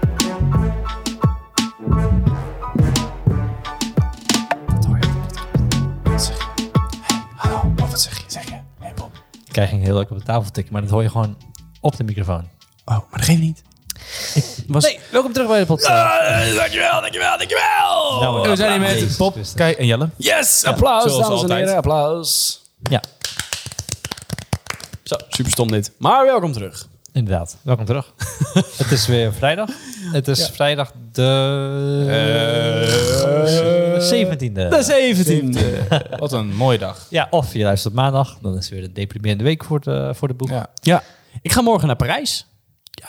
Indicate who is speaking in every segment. Speaker 1: Oh
Speaker 2: krijg ik heel leuk op de tafel tikken, maar dat hoor je gewoon op de microfoon.
Speaker 1: Oh, maar dat geeft niet. Ik was...
Speaker 2: Nee, welkom terug bij de podcast.
Speaker 1: Dankjewel, dankjewel, dankjewel.
Speaker 2: Nou,
Speaker 1: we zijn hier met
Speaker 2: Jezus
Speaker 1: Bob,
Speaker 2: Christus.
Speaker 1: Kai en Jelle.
Speaker 3: Yes, applaus,
Speaker 1: zoals
Speaker 3: dames en
Speaker 1: altijd.
Speaker 3: heren, applaus.
Speaker 2: Ja,
Speaker 1: Zo, super stom dit. Maar welkom terug.
Speaker 2: inderdaad. Welkom terug. het is weer vrijdag. Het is vrijdag de... 17e.
Speaker 1: De 17e. Wat een mooie dag.
Speaker 2: Ja, of je luistert maandag, dan is het weer een deprimerende week voor de, voor de boek. Ja,
Speaker 3: Ja.
Speaker 1: Ja, ik ga morgen naar Parijs.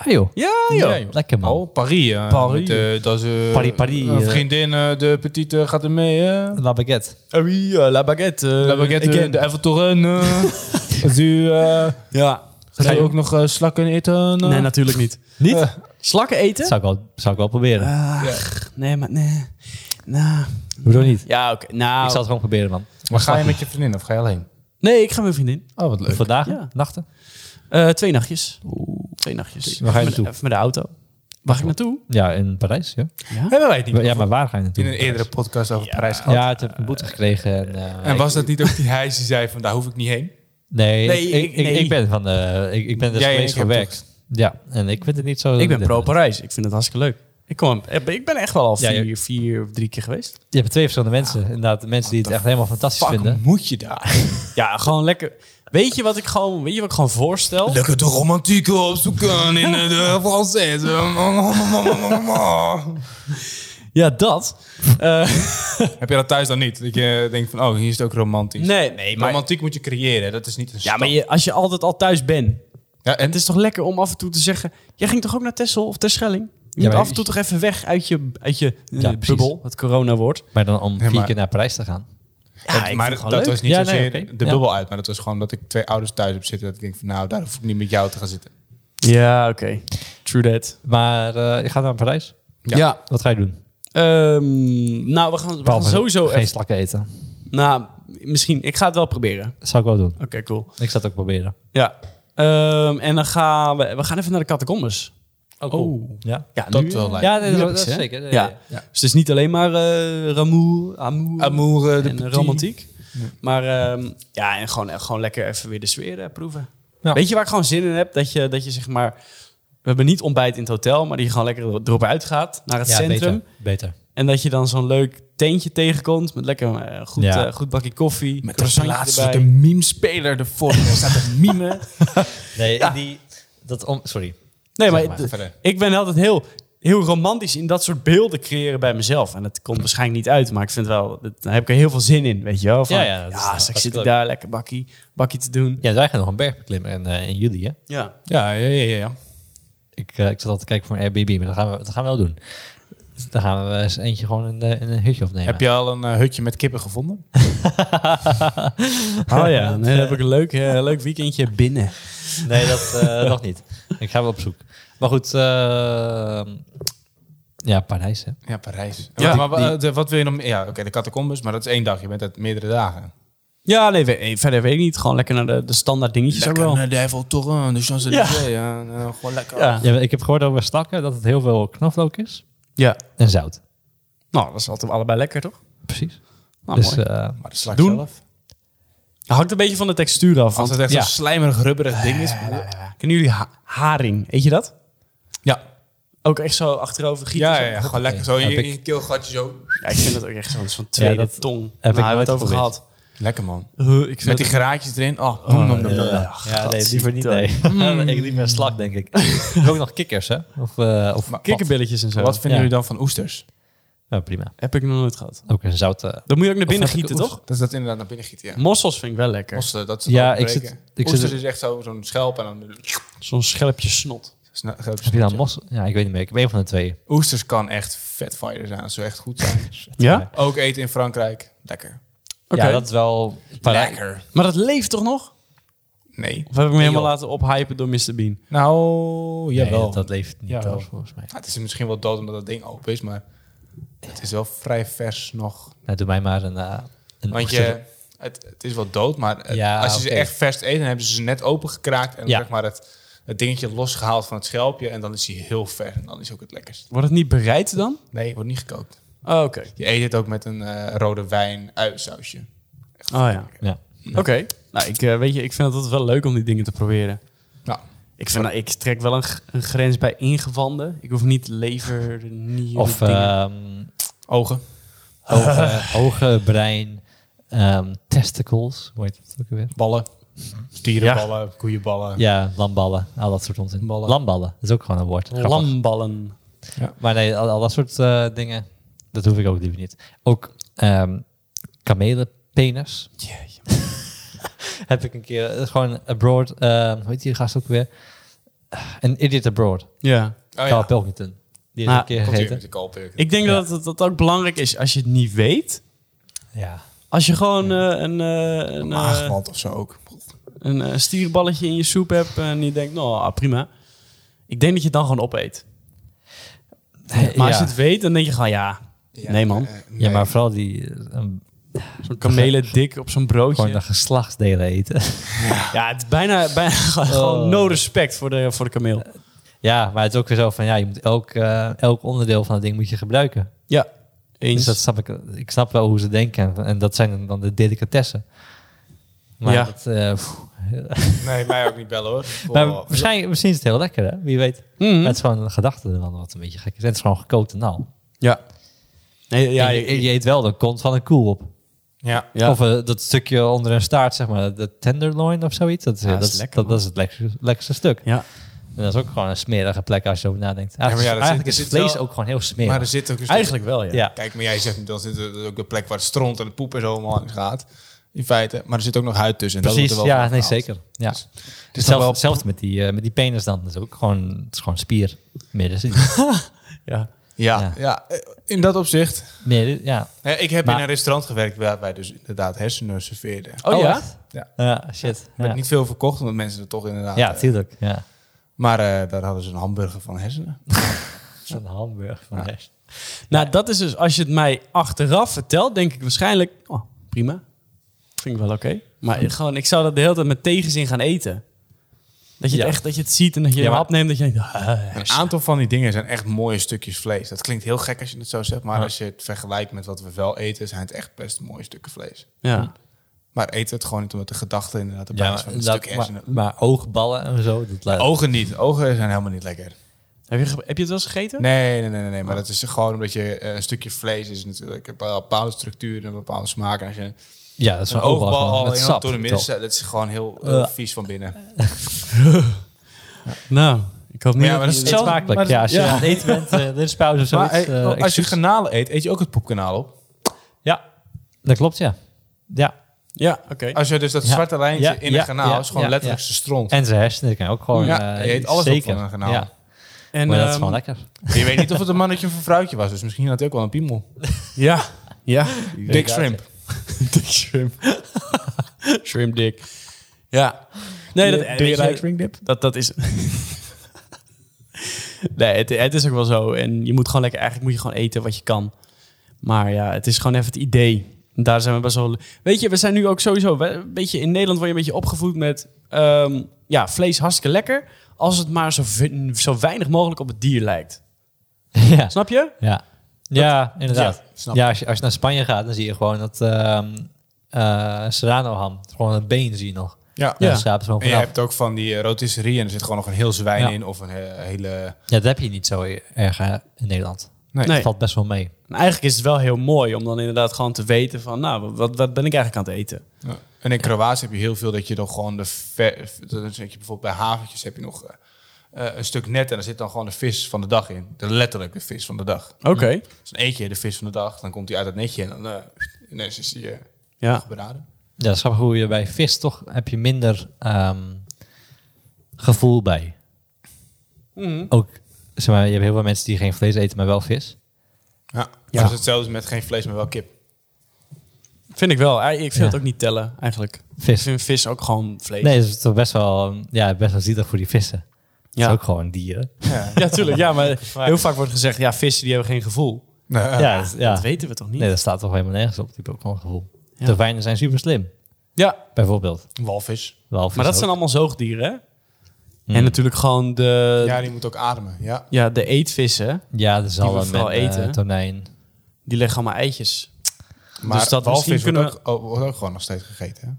Speaker 2: joh.
Speaker 1: Ja,
Speaker 3: joh.
Speaker 2: Lekker man.
Speaker 3: Oh, Paris. eh,
Speaker 1: Paris. Ah,
Speaker 3: Met, eh, dat is, eh,
Speaker 2: Nou. Paris, Paris,
Speaker 3: Een
Speaker 2: eh.
Speaker 3: vriendin, eh, de petite, gaat er mee. eh.
Speaker 2: La baguette.
Speaker 1: oui, eh, la baguette. eh,
Speaker 3: La baguette,
Speaker 1: again.
Speaker 3: eh, de Eiffel Toren. eh. Gaat u, eh
Speaker 1: Ja.
Speaker 3: gaat u
Speaker 1: je-
Speaker 3: ook nog eh, slakken eten? eh?
Speaker 1: Nee, natuurlijk niet.
Speaker 2: Niet?
Speaker 1: Slakken eten?
Speaker 2: zou, ik wel, zou ik wel proberen.
Speaker 1: Nee, maar nee. Nou.
Speaker 2: Hoezo niet?
Speaker 1: Ja, oké. Nou.
Speaker 2: Ik zal het gewoon proberen, man.
Speaker 3: maar ga je met je vriendin of ga je alleen?
Speaker 1: Nee, ik ga met mijn vriendin.
Speaker 3: Oh, wat leuk.
Speaker 2: Vandaag,
Speaker 1: Ja.
Speaker 2: nachten.
Speaker 1: Eh, twee nachtjes. Twee nachtjes.
Speaker 2: Waar ga je
Speaker 1: Met-
Speaker 2: naartoe?
Speaker 1: Even met de auto. Waar ga ik naartoe?
Speaker 2: Ja, in Parijs, ja.
Speaker 3: Hebben wij het niet
Speaker 2: Ja, maar waar ga je naartoe?
Speaker 3: in een eerdere podcast over Parijs gehad?
Speaker 2: Ja, het heeft een boete gekregen. En, eh,
Speaker 3: En was dat niet ook die hijs die zei van daar hoef ik niet heen?
Speaker 2: Nee,
Speaker 1: Nee,
Speaker 2: ik, ik,
Speaker 1: nee.
Speaker 2: ik ben van de... Ik, ik ben dus
Speaker 3: Jij en
Speaker 2: geweest
Speaker 3: ik
Speaker 2: voor
Speaker 3: hebben
Speaker 2: werk. Ja, en ik vind het niet zo...
Speaker 1: Ik ben pro-Parijs. Ik vind het hartstikke leuk. Ik, kom, eh, ik ben echt wel al
Speaker 2: Ja,
Speaker 1: vier,
Speaker 2: je-
Speaker 1: vier of drie keer geweest.
Speaker 2: Je hebt twee verschillende mensen. Inderdaad, de mensen die het echt helemaal fantastisch
Speaker 3: Fuck,
Speaker 2: vinden.
Speaker 3: moet je daar?
Speaker 1: Ja, gewoon lekker. Weet je wat ik gewoon, weet je wat ik gewoon voorstel?
Speaker 3: Lekker de romantiek opzoeken in eh, de Française.
Speaker 1: Ja, dat. Eh,
Speaker 3: Heb je dat thuis dan niet? Dat je denkt van, oh, hier is het ook romantisch.
Speaker 1: nee, nee, maar,
Speaker 3: Romantiek moet je creëren, dat is niet een
Speaker 1: ja, maar
Speaker 3: stap.
Speaker 1: je, als je altijd al thuis bent,
Speaker 3: Ja, en
Speaker 1: het is toch lekker om af en toe te zeggen... Jij ging toch ook naar Texel of Terschelling?
Speaker 2: Ja,
Speaker 1: Je moet
Speaker 2: maar-
Speaker 1: af en toe toch even weg uit je, uit je eh,
Speaker 2: Ja, precies.
Speaker 1: bubbel, het corona-woord.
Speaker 2: Maar dan om
Speaker 3: maar-
Speaker 2: vier keer naar Parijs te gaan.
Speaker 1: Ja,
Speaker 3: dat-
Speaker 1: ik
Speaker 3: maar
Speaker 1: vind
Speaker 3: dat
Speaker 1: het gewoon leuk.
Speaker 3: was niet
Speaker 2: Ja, nee,
Speaker 3: zozeer
Speaker 2: oké.
Speaker 3: de
Speaker 2: Ja.
Speaker 3: bubbel uit, maar dat was gewoon dat ik twee ouders thuis heb zitten. Dat ik denk van, nou, daar hoef ik niet met jou te gaan zitten.
Speaker 1: Ja, oké. True that.
Speaker 2: Maar eh, je gaat naar Parijs.
Speaker 3: Ja.
Speaker 2: Wat ga je doen?
Speaker 1: Ehm, nou, we gaan, we gaan
Speaker 2: Behalve
Speaker 1: sowieso
Speaker 2: Geen
Speaker 1: even...
Speaker 2: slakken eten.
Speaker 1: Nou, misschien. Ik ga het wel proberen.
Speaker 2: Dat zou ik wel doen.
Speaker 1: Oké, cool.
Speaker 2: Ik zou het ook proberen.
Speaker 1: Ja. Ehm, en dan gaan we... We gaan even naar de catacombes.
Speaker 2: Oh, Ja?
Speaker 1: Ja,
Speaker 3: Dat
Speaker 1: nu-
Speaker 3: wel lijkt.
Speaker 2: Ja, nee,
Speaker 1: Nu
Speaker 2: dat,
Speaker 1: heb ik
Speaker 2: dat
Speaker 1: ze,
Speaker 2: is
Speaker 1: hè?
Speaker 2: zeker.
Speaker 1: Ja.
Speaker 2: ja.
Speaker 1: Dus het is niet alleen maar eh ramoe, amoe,
Speaker 3: Amour, eh, de
Speaker 1: en
Speaker 3: petit.
Speaker 1: romantiek. Maar ehm, ja, en gewoon, gewoon lekker even weer de sfeer eh, proeven.
Speaker 2: Ja.
Speaker 1: Weet je waar ik gewoon zin in heb? Dat je, dat je zeg maar... We hebben niet ontbijt in het hotel, maar dat je gewoon lekker er- erop uitgaat naar het
Speaker 2: Ja,
Speaker 1: centrum.
Speaker 2: Beter. beter.
Speaker 1: En dat je dan zo'n leuk tentje tegenkomt met lekker eh, goed,
Speaker 2: Ja.
Speaker 1: eh, goed bakje koffie.
Speaker 3: Met de
Speaker 1: croissantje
Speaker 3: laatste
Speaker 1: erbij.
Speaker 3: de meme-speler ervoor. Er staat een meme.
Speaker 2: Nee, die, dat om, sorry.
Speaker 1: Nee, maar,
Speaker 2: maar.
Speaker 1: d-
Speaker 3: Verder.
Speaker 1: ik ben altijd heel, heel romantisch in dat soort beelden creëren bij mezelf. En dat komt waarschijnlijk niet uit, maar ik vind wel, dat, daar heb ik er heel veel zin in, weet je wel. Van,
Speaker 2: Ja,
Speaker 1: ja,
Speaker 2: ja, dat is wel
Speaker 1: straks zit ik
Speaker 2: leuk.
Speaker 1: daar lekker bakkie, bakkie te doen.
Speaker 2: Ja, wij gaan nog een berg beklimmen in, eh, in juli, hè?
Speaker 1: Ja.
Speaker 3: Ja, ja, ja, ja.
Speaker 2: Ik, eh, ik zat al te kijken voor een Airbnb, maar dat gaan we, dat gaan we wel doen. Dus Dan gaan we eens eentje gewoon in, de, in een hutje opnemen.
Speaker 3: Heb je al een eh, hutje met kippen gevonden?
Speaker 1: Oh ja, dan heb ik een leuk, eh, leuk weekendje binnen.
Speaker 2: Nee, dat eh, nog niet. Ik ga wel op zoek. Maar goed, eh, ja, Parijs, hè?
Speaker 3: Ja, Parijs.
Speaker 1: Ja,
Speaker 3: maar wa- eh, de- wat wil je nog meer? Ja, oké, de catacombes, maar dat is één dag. Je bent uit meerdere dagen.
Speaker 1: Ja, nee, we- eh, verder weet ik niet. Gewoon lekker naar de, de standaard dingetjes ook wel.
Speaker 3: de Eiffel Toren, de Champs-Élysées. Ja. eh, gewoon lekker.
Speaker 1: Ja.
Speaker 2: Ja, ik heb gehoord over stakken dat het heel veel knoflook is
Speaker 1: ja.
Speaker 2: en zout.
Speaker 1: Nou, dat is altijd allebei lekker, toch?
Speaker 2: Precies.
Speaker 1: Nou,
Speaker 2: dus
Speaker 1: mooi.
Speaker 2: eh,
Speaker 3: Maar de slag
Speaker 1: Doen.
Speaker 3: zelf.
Speaker 1: hangt een beetje van de textuur af.
Speaker 3: Als
Speaker 1: Want,
Speaker 3: het echt
Speaker 2: Ja.
Speaker 3: zo'n slijmerig, rubberig ding is.
Speaker 1: kennen jullie ha- haring? Eet je dat?
Speaker 3: Ja,
Speaker 1: Ook echt zo achterover gieten?
Speaker 3: Ja,
Speaker 1: zo?
Speaker 3: ja, ja, gewoon lekker zo in
Speaker 2: Heb
Speaker 3: je,
Speaker 2: ik-
Speaker 3: in je keelgatje zo.
Speaker 1: Ja, ik vind dat ook echt zo'n zo'n tweede
Speaker 2: Ja, dat heb
Speaker 1: tong. Nou,
Speaker 2: ik
Speaker 1: hebben we het
Speaker 2: nooit
Speaker 1: over gehad.
Speaker 3: Lekker man.
Speaker 1: Huh, ik
Speaker 3: Met
Speaker 1: vind
Speaker 3: die
Speaker 1: het-
Speaker 3: graatjes erin. Oh, nom, nom, nom, nom.
Speaker 2: ja, nee, liever niet. Nee.
Speaker 1: Mm.
Speaker 2: ik liever een slak, denk ik. ook nog kikkers, hè? Of, eh, of
Speaker 3: Maar wat,
Speaker 1: kikkerbilletjes en zo.
Speaker 3: wat vinden
Speaker 2: Ja.
Speaker 3: jullie dan van oesters?
Speaker 2: Ja, prima.
Speaker 1: heb ik nog nooit gehad.
Speaker 2: Ook een zout. eh,
Speaker 1: Dat moet je ook naar binnen
Speaker 2: heb ik
Speaker 1: gieten,
Speaker 2: oes-
Speaker 1: toch?
Speaker 3: Dat is dat inderdaad naar binnen gieten, ja.
Speaker 1: Mossels vind ik wel lekker.
Speaker 3: Oesters, dat is
Speaker 2: Ja, ik zit- ik zit-
Speaker 3: Oesters is echt zo- zo'n schelp en dan...
Speaker 1: Zo'n schelpje snot.
Speaker 3: Sna-
Speaker 2: heb je dan mos? Ja, ik weet niet meer. Ik heb een van de twee.
Speaker 3: Oesters kan echt vetfire zijn. Dat zou echt goed zijn.
Speaker 1: Ja?
Speaker 3: Ook eten in Frankrijk. Lekker.
Speaker 1: Oké.
Speaker 2: Ja, dat is wel.
Speaker 3: Lekker.
Speaker 1: Maar dat leeft toch nog?
Speaker 3: Nee.
Speaker 1: Of heb ik me helemaal
Speaker 2: joh.
Speaker 1: laten ophypen door Mr. Bean?
Speaker 3: Nou,
Speaker 2: Nee,
Speaker 3: jawel.
Speaker 2: dat, dat leeft niet
Speaker 1: Jawel.
Speaker 2: thuis, volgens mij.
Speaker 3: Ja, het is misschien wel dood omdat dat ding open is, maar het is wel vrij vers nog.
Speaker 2: Nou, doe mij maar een. eh, een
Speaker 3: Want
Speaker 2: oester.
Speaker 3: je, het, het is wel dood, maar het-
Speaker 2: Ja,
Speaker 3: als je ze
Speaker 2: oké.
Speaker 3: echt vers eet, dan hebben ze ze net opengekraakt en
Speaker 2: Ja.
Speaker 3: zeg maar het, het dingetje losgehaald van het schelpje en dan is hij heel ver en dan is hij ook het lekkerst.
Speaker 1: Wordt het niet bereid dan?
Speaker 3: Nee, wordt niet gekookt.
Speaker 1: Oh, oké.
Speaker 3: Je eet het ook met een eh, rode wijn uitsausje.
Speaker 1: Oh ja.
Speaker 2: Ja.
Speaker 1: Oké. Nou, ik, eh, weet je, ik vind het altijd wel leuk om die dingen te proberen.
Speaker 3: Ja.
Speaker 1: Ik, vind, dat- ik trek wel een, g- een grens bij ingewanden. Ik hoef niet lever, nieren,
Speaker 2: Of
Speaker 1: dingen.
Speaker 2: ehm,
Speaker 3: Ogen.
Speaker 2: ogen, ogen, brein, ehm, testicles. Hoe heet dat ook weer?
Speaker 3: Ballen. Dierenballen, koeienballen.
Speaker 2: Ja, lamballen. Al dat soort onzin.
Speaker 3: Ballen.
Speaker 2: Lamballen. Dat is ook gewoon een woord. Grappig.
Speaker 1: lamballen.
Speaker 2: Maar nee, al, al dat soort eh, dingen, dat hoef ik ook liever niet. Ook ehm kamelenpenis. Heb ik een keer, eh, gewoon abroad, eh, hoe heet die gast ook weer? Eh, Een idiot abroad,
Speaker 1: Ja.
Speaker 3: Oh,
Speaker 2: Carl
Speaker 3: ja.
Speaker 2: Pilkington. Die is
Speaker 1: Ah,
Speaker 2: een keer
Speaker 3: Komt hier met
Speaker 2: gegeten.
Speaker 3: de kalpik.
Speaker 1: Ik denk
Speaker 2: Ja.
Speaker 1: dat het dat ook belangrijk is als je het niet weet.
Speaker 2: Ja.
Speaker 1: Als je gewoon eh, een, eh, een, eh,
Speaker 3: Maagmand of zo ook.
Speaker 1: een eh, stierballetje in je soep hebt en je denkt, nou ah, prima. Ik denk dat je het dan gewoon opeet. Maar als je het weet, dan denk je gewoon ja.
Speaker 3: Ja,
Speaker 1: nee, man.
Speaker 3: eh, nee.
Speaker 2: ja, maar vooral die, eh, een-
Speaker 1: Zo'n kamelen dik op zo'n
Speaker 2: gewoon de
Speaker 1: broodje.
Speaker 2: geslachtsdelen eten.
Speaker 1: Ja, het is bijna, bijna gewoon no respect voor de, voor de kameel.
Speaker 2: ja, maar het is ook weer zo van, ja, je moet elk, eh, elk onderdeel van het ding moet je gebruiken.
Speaker 1: Ja, eens.
Speaker 2: Dus dat snap ik, ik snap wel hoe ze denken. En dat zijn dan de delicatessen. Maar
Speaker 1: Ja.
Speaker 2: dat, eh, pff,
Speaker 3: Nee, mij ook niet bellen hoor.
Speaker 2: Maar
Speaker 3: Voor-
Speaker 2: waarschijnlijk, misschien is het heel lekker, hè? Wie weet.
Speaker 1: Mhm.
Speaker 2: Het is gewoon een gedachte dan wat een beetje gek is. En het is gewoon gekookt en al.
Speaker 1: Ja. Nee, ja,
Speaker 2: En je, je eet wel de kont van een koe op.
Speaker 3: Ja.
Speaker 1: ja.
Speaker 2: Of eh, dat stukje onder een staart, zeg maar, de tenderloin of zoiets. Dat is,
Speaker 1: Ja,
Speaker 2: dat
Speaker 1: is
Speaker 2: is,
Speaker 1: lekker,
Speaker 2: dat, dat is het lekkerste, lekkerste stuk.
Speaker 1: ja.
Speaker 2: En dat is ook gewoon een smerige plek als je erover nadenkt.
Speaker 3: maar ja,
Speaker 2: Eigenlijk,
Speaker 3: dat zit-
Speaker 2: eigenlijk
Speaker 3: er
Speaker 2: is
Speaker 3: zit
Speaker 2: vlees
Speaker 3: wel-
Speaker 2: ook gewoon heel smerig.
Speaker 3: Maar er zit ook een stuk-
Speaker 1: Eigenlijk wel, ja.
Speaker 2: ja.
Speaker 3: Kijk, maar jij zegt dan zit er ook de plek waar het stront en de poep en zo allemaal langs gaat. In feite. Maar er zit ook nog huid tussen. en dat
Speaker 2: Precies,
Speaker 3: wordt er wel
Speaker 2: ja,
Speaker 3: van
Speaker 2: nee,
Speaker 3: gehaald.
Speaker 2: zeker. Ja.
Speaker 3: Dus
Speaker 2: Hetzelfde-
Speaker 3: wel-
Speaker 2: Hetzelfde met die, eh, met die penis dan. Dat is ook gewoon, het is gewoon spier. Midden.
Speaker 1: ja.
Speaker 3: Ja,
Speaker 2: Ja.
Speaker 3: ja. eh, in dat opzicht.
Speaker 2: Midden, ja.
Speaker 3: Hè, Ik heb
Speaker 2: Maar-
Speaker 3: in een restaurant gewerkt waar wij dus inderdaad hersenen serveerden.
Speaker 1: Oh, ja?
Speaker 2: echt?
Speaker 3: Ja.
Speaker 2: Ja, shit.
Speaker 3: Er werd
Speaker 2: Ja,
Speaker 3: niet veel verkocht, omdat mensen er toch inderdaad...
Speaker 2: ja
Speaker 3: eh,
Speaker 2: tuurlijk. Ja.
Speaker 3: maar eh, daar hadden ze een hamburger van hersenen.
Speaker 2: Zo'n hamburger van rest.
Speaker 1: Nou, dat is dus, als je het mij achteraf vertelt, denk ik waarschijnlijk, oh, prima. Vind ik wel oké. Maar ik- gewoon, ik zou dat de hele tijd met tegenzin gaan eten. Dat je,
Speaker 2: Ja.
Speaker 1: het, echt, dat je het ziet en dat je
Speaker 2: Ja,
Speaker 1: hem
Speaker 2: maar-
Speaker 1: opneemt, dat je denkt, ah,
Speaker 3: Een aantal van die dingen zijn echt mooie stukjes vlees. Dat klinkt heel gek als je het zo zegt, maar als je het vergelijkt met wat we wel eten, zijn het echt best mooie stukken vlees.
Speaker 1: ja.
Speaker 3: Maar eten we het gewoon niet omdat de gedachte inderdaad erbij
Speaker 2: Ja,
Speaker 3: is
Speaker 2: maar,
Speaker 3: van een
Speaker 2: dat-
Speaker 3: stuk hersenen.
Speaker 2: maar, maar oogballen en zo. Dat lijkt-
Speaker 3: Ogen niet. Ogen zijn helemaal niet lekker.
Speaker 1: Heb, je, ge- heb je het wel eens gegeten?
Speaker 3: Nee, nee, nee, nee, nee. Maar dat is gewoon omdat je eh, een stukje vlees is natuurlijk een bepaalde structuur en een bepaalde smaak. En als je
Speaker 2: ja, dat is
Speaker 3: een
Speaker 2: zo'n oogbal,
Speaker 3: oogbal
Speaker 2: gewoon
Speaker 3: al
Speaker 2: met
Speaker 3: helemaal
Speaker 2: sap.
Speaker 3: door de midden zet, dat is gewoon heel, heel
Speaker 2: Ja.
Speaker 3: vies van binnen.
Speaker 1: Nou, ik had niet...
Speaker 3: maar dat is
Speaker 2: Het is
Speaker 3: hetzelfde.
Speaker 2: smakelijk.
Speaker 3: Maar-
Speaker 2: ja, als je
Speaker 3: ja.
Speaker 2: aan het eten bent, eh, dit is pauze of
Speaker 3: Maar
Speaker 2: zoiets.
Speaker 3: eh,
Speaker 2: eh,
Speaker 3: als je
Speaker 2: excuus.
Speaker 3: kanalen eet, eet je ook het poepkanaal op.
Speaker 2: ja, dat klopt, ja. Ja,
Speaker 1: Ja, oké.
Speaker 3: Als je dus dat
Speaker 2: Ja.
Speaker 3: zwarte lijntje
Speaker 2: Ja,
Speaker 3: in
Speaker 2: ja,
Speaker 3: een kanaal
Speaker 2: ja,
Speaker 3: is gewoon
Speaker 2: ja,
Speaker 3: letterlijk
Speaker 2: ja.
Speaker 3: zijn stront.
Speaker 2: en zijn hersenen kan ook gewoon...
Speaker 3: Ja,
Speaker 2: eh,
Speaker 3: je eet alles op
Speaker 2: zeker.
Speaker 3: van een kanaal.
Speaker 2: Ja,
Speaker 1: en,
Speaker 2: maar dat is
Speaker 1: ehm,
Speaker 2: gewoon lekker.
Speaker 3: Je weet niet of het een mannetje of een vrouwtje was, dus misschien had hij ook wel een piemel.
Speaker 1: Ja, ja.
Speaker 3: Dick shrimp.
Speaker 1: Dick shrimp. shrimp dick. Ja. Nee, dat, weet je-
Speaker 3: shrimp dip?
Speaker 1: Dat, dat is. nee, het, het is ook wel zo. En je moet gewoon lekker, eigenlijk moet je gewoon eten wat je kan. Maar ja, het is gewoon even het idee. En Daar zijn we best wel. Weet je, we zijn nu ook sowieso. we- Een beetje in Nederland word je een beetje opgevoed met. ehm, ja, vlees hartstikke lekker. Als het maar zo, vi- zo weinig mogelijk op het dier lijkt.
Speaker 2: ja,
Speaker 1: Snap je?
Speaker 2: ja. ja, inderdaad.
Speaker 3: Ja,
Speaker 2: Ja,
Speaker 3: snap.
Speaker 2: als, je, als je naar Spanje gaat, dan zie je gewoon dat ehm eh serrano ham. Gewoon het been zie je nog.
Speaker 3: Ja.
Speaker 2: Ja,
Speaker 1: Ja.
Speaker 2: daar slapen ze gewoon
Speaker 3: En je
Speaker 2: vanaf.
Speaker 3: hebt ook van die eh, rotisserie en er zit gewoon nog een heel zwijn
Speaker 2: Ja.
Speaker 3: in of een eh, hele...
Speaker 2: Ja, dat heb je niet zo e-, erg hè, in Nederland.
Speaker 3: Nee.
Speaker 2: Dat valt best wel mee.
Speaker 1: En eigenlijk is het wel heel mooi om dan inderdaad gewoon te weten van. Nou, wat, wat ben ik eigenlijk aan het eten?
Speaker 3: Ja. En in Kroatië heb je heel veel dat je dan gewoon de ver, dan zit je bijvoorbeeld bij haventjes heb je nog eh, eh, een stuk net en daar zit dan gewoon de vis van de dag in. De letterlijke vis van de dag.
Speaker 1: Oké.
Speaker 3: Dus dan eet je de vis van de dag, dan komt hij uit het netje en dan eh, ineens is die eh,
Speaker 1: Ja.
Speaker 3: beraden.
Speaker 2: Ja, dat is grappig hoe je bij vis toch heb je minder ehm, gevoel bij. Ook, zeg maar, je hebt heel veel mensen die geen vlees eten, maar wel vis.
Speaker 3: Ja. Maar
Speaker 1: Ja.
Speaker 3: Dat is hetzelfde met geen vlees, maar wel kip.
Speaker 1: Vind ik wel. Ik vind
Speaker 2: Ja.
Speaker 1: het ook niet tellen eigenlijk. Ik
Speaker 2: Vis.
Speaker 1: vind vis ook gewoon vlees.
Speaker 2: Nee, dat is toch best wel, ehm, ja, best wel zielig voor die vissen. Het
Speaker 1: Ja.
Speaker 2: is ook gewoon dieren.
Speaker 3: Ja.
Speaker 1: Ja, tuurlijk. Ja, maar heel vaak wordt gezegd, ja, vissen die hebben geen gevoel.
Speaker 3: Ja.
Speaker 2: ja, dat, is- ja.
Speaker 1: Dat weten we toch niet?
Speaker 2: Nee, dat staat toch helemaal nergens op. Die hebben ook gewoon gevoel.
Speaker 1: Ja.
Speaker 2: Dolfijnen zijn super slim,
Speaker 1: Ja,
Speaker 2: bijvoorbeeld.
Speaker 3: Walvis.
Speaker 2: Walvissen
Speaker 1: maar dat
Speaker 2: ook. Hmm.
Speaker 1: zijn allemaal zoogdieren, hè? En natuurlijk gewoon de,
Speaker 3: Ja,
Speaker 1: ja.
Speaker 3: die moet ook ademen. Ja.
Speaker 1: de eetvissen.
Speaker 2: Ja, de
Speaker 1: we
Speaker 2: zalm en
Speaker 1: vooral
Speaker 2: eten.
Speaker 1: eten.
Speaker 2: tonijn.
Speaker 1: Die leggen allemaal eitjes.
Speaker 3: Maar
Speaker 1: Dus dat
Speaker 3: walvis
Speaker 1: misschien
Speaker 3: wordt,
Speaker 1: kunnen
Speaker 3: ook, oh, wordt ook gewoon nog steeds gegeten. Hè?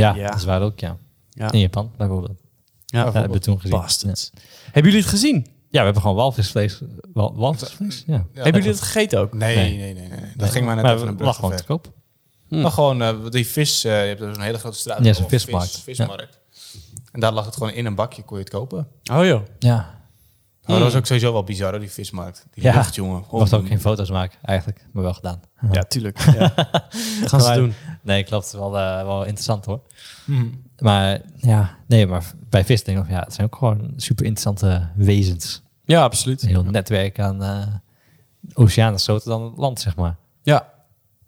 Speaker 2: Ja,
Speaker 1: Ja.
Speaker 2: dat is waar ook, ja.
Speaker 1: Ja.
Speaker 2: In Japan bijvoorbeeld.
Speaker 1: Ja,
Speaker 2: Ja, dat hebben we toen gezien.
Speaker 1: bastards. Hebben jullie het gezien?
Speaker 2: Ja, we hebben gewoon walvisvlees. Wal, walvisvlees? Ja.
Speaker 1: hebben jullie het gegeten ook?
Speaker 3: Nee,
Speaker 2: Nee.
Speaker 3: nee, nee. nee, nee. Dat ging maar net
Speaker 2: maar
Speaker 3: even een
Speaker 2: we
Speaker 3: brug
Speaker 2: lag
Speaker 3: te
Speaker 2: gewoon te
Speaker 3: ver.
Speaker 2: koop.
Speaker 3: Maar gewoon eh, die vis, eh, je hebt dus een hele grote straat.
Speaker 2: Mm. Ja, zo'n
Speaker 3: Oh, vis-
Speaker 2: vismarkt.
Speaker 3: vismarkt. En daar lag het gewoon in een bakje, kon je het kopen.
Speaker 1: Oh joh.
Speaker 2: Ja.
Speaker 3: Oh, dat was ook sowieso wel bizar, hoor, die vismarkt. Die
Speaker 2: Mm. Ja.
Speaker 3: lucht, jongen.
Speaker 2: We mochten ook geen foto's maken, eigenlijk. Maar wel gedaan.
Speaker 1: Ja, tuurlijk. Ja. Gaan ze
Speaker 2: Maar-
Speaker 1: doen. Mhm.
Speaker 2: Nee, klopt. Wel, eh, wel interessant hoor.
Speaker 3: Hmm.
Speaker 2: Maar ja, nee, maar bij vis denk ik, ja, het zijn ook gewoon super interessante wezens.
Speaker 1: Ja, absoluut.
Speaker 2: Een heel netwerk aan eh oceanen is groter dan het land, zeg maar.
Speaker 1: Ja.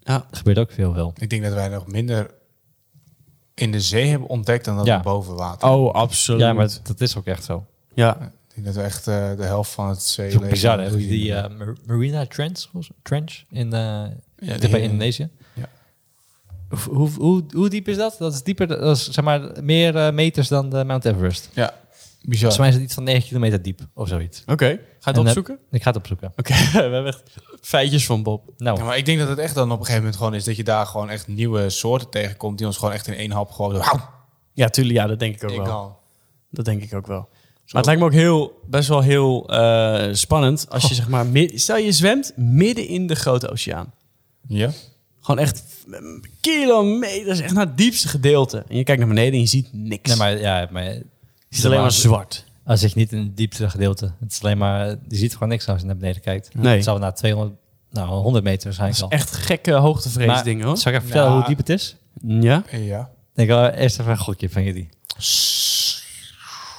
Speaker 1: Ja.
Speaker 2: Er gebeurt ook veel wel.
Speaker 3: Ik denk dat wij nog minder in de zee hebben ontdekt dan dat
Speaker 2: Ja.
Speaker 3: we boven water.
Speaker 1: Oh, absoluut.
Speaker 2: Ja, maar dat is ook echt zo.
Speaker 1: ja.
Speaker 3: Ik denk dat we echt eh, de helft van het
Speaker 2: Het is
Speaker 3: zeeleven...
Speaker 2: ook bizar, hè?
Speaker 3: Ja,
Speaker 2: Die eh, Mar- Marina Trench, Trench in, eh
Speaker 3: die-
Speaker 2: bij Indonesië.
Speaker 3: Ja.
Speaker 2: Hoe, hoe, hoe, hoe diep is dat? Dat is dieper, dat is zeg maar meer eh, meters dan de Mount Everest.
Speaker 3: Ja,
Speaker 2: Volgens
Speaker 3: bizar.
Speaker 2: mij is het iets van 9 kilometer diep of zoiets.
Speaker 1: Oké. Ga je het
Speaker 2: En, eh,
Speaker 1: opzoeken?
Speaker 2: Ik ga het opzoeken.
Speaker 1: Oké, we hebben echt feitjes van Bob.
Speaker 2: Nou,
Speaker 3: Ja, maar ik denk dat het echt dan op een gegeven moment gewoon is dat je daar gewoon echt nieuwe soorten tegenkomt die ons gewoon echt in één hap gewoon... Wauw,
Speaker 1: Ja, tuurlijk. Ja, dat denk ik ook
Speaker 3: ik
Speaker 1: wel.
Speaker 3: al.
Speaker 1: Dat denk ik ook wel. Maar het lijkt me ook heel, best wel heel eh, spannend als je zeg maar... mid- stel je zwemt midden in de grote oceaan.
Speaker 3: Ja?
Speaker 1: Gewoon echt mm, kilometers, echt naar het diepste gedeelte. En je kijkt naar beneden en je ziet niks.
Speaker 2: nee, maar, ja, maar
Speaker 1: het is alleen maar zwart.
Speaker 2: Als je niet in het diepste gedeelte. Het is alleen maar, je ziet gewoon niks als je naar beneden kijkt.
Speaker 1: Nee.
Speaker 2: Het zal na 200, nou 100 meter waarschijnlijk al.
Speaker 1: Echt gekke hoogtevrees
Speaker 2: Maar
Speaker 1: dingen hoor.
Speaker 2: Zal ik even vertellen
Speaker 3: Ja.
Speaker 2: hoe diep het is?
Speaker 1: Ja.
Speaker 3: Ja.
Speaker 2: Ik wil eerst even een gokje van jullie.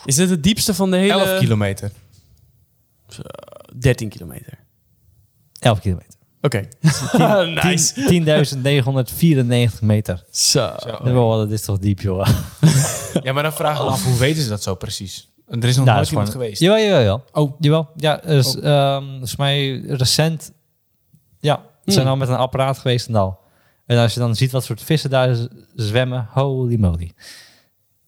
Speaker 1: Is dit het diepste van de hele...
Speaker 3: 11 kilometer.
Speaker 1: 13 kilometer.
Speaker 2: 11 kilometer.
Speaker 1: Oké.
Speaker 2: 10- 10.994 meter.
Speaker 1: Zo.
Speaker 2: Oh, dat is toch diep, joh. Nou,
Speaker 3: Ja, maar dan vraag ik me af, hoe weten ze dat zo precies? En Er is nog
Speaker 2: Nou, dat
Speaker 3: nooit
Speaker 2: is
Speaker 3: iemand
Speaker 2: gewoon-
Speaker 3: geweest.
Speaker 2: Jawel, jawel, jawel.
Speaker 3: Oh.
Speaker 2: Jawel. Ja, dus, ehm, volgens mij recent. Ja, ze zijn
Speaker 1: Hmm.
Speaker 2: al met een apparaat geweest en al. En als je dan ziet wat soort vissen daar z- zwemmen, holy moly. Ja.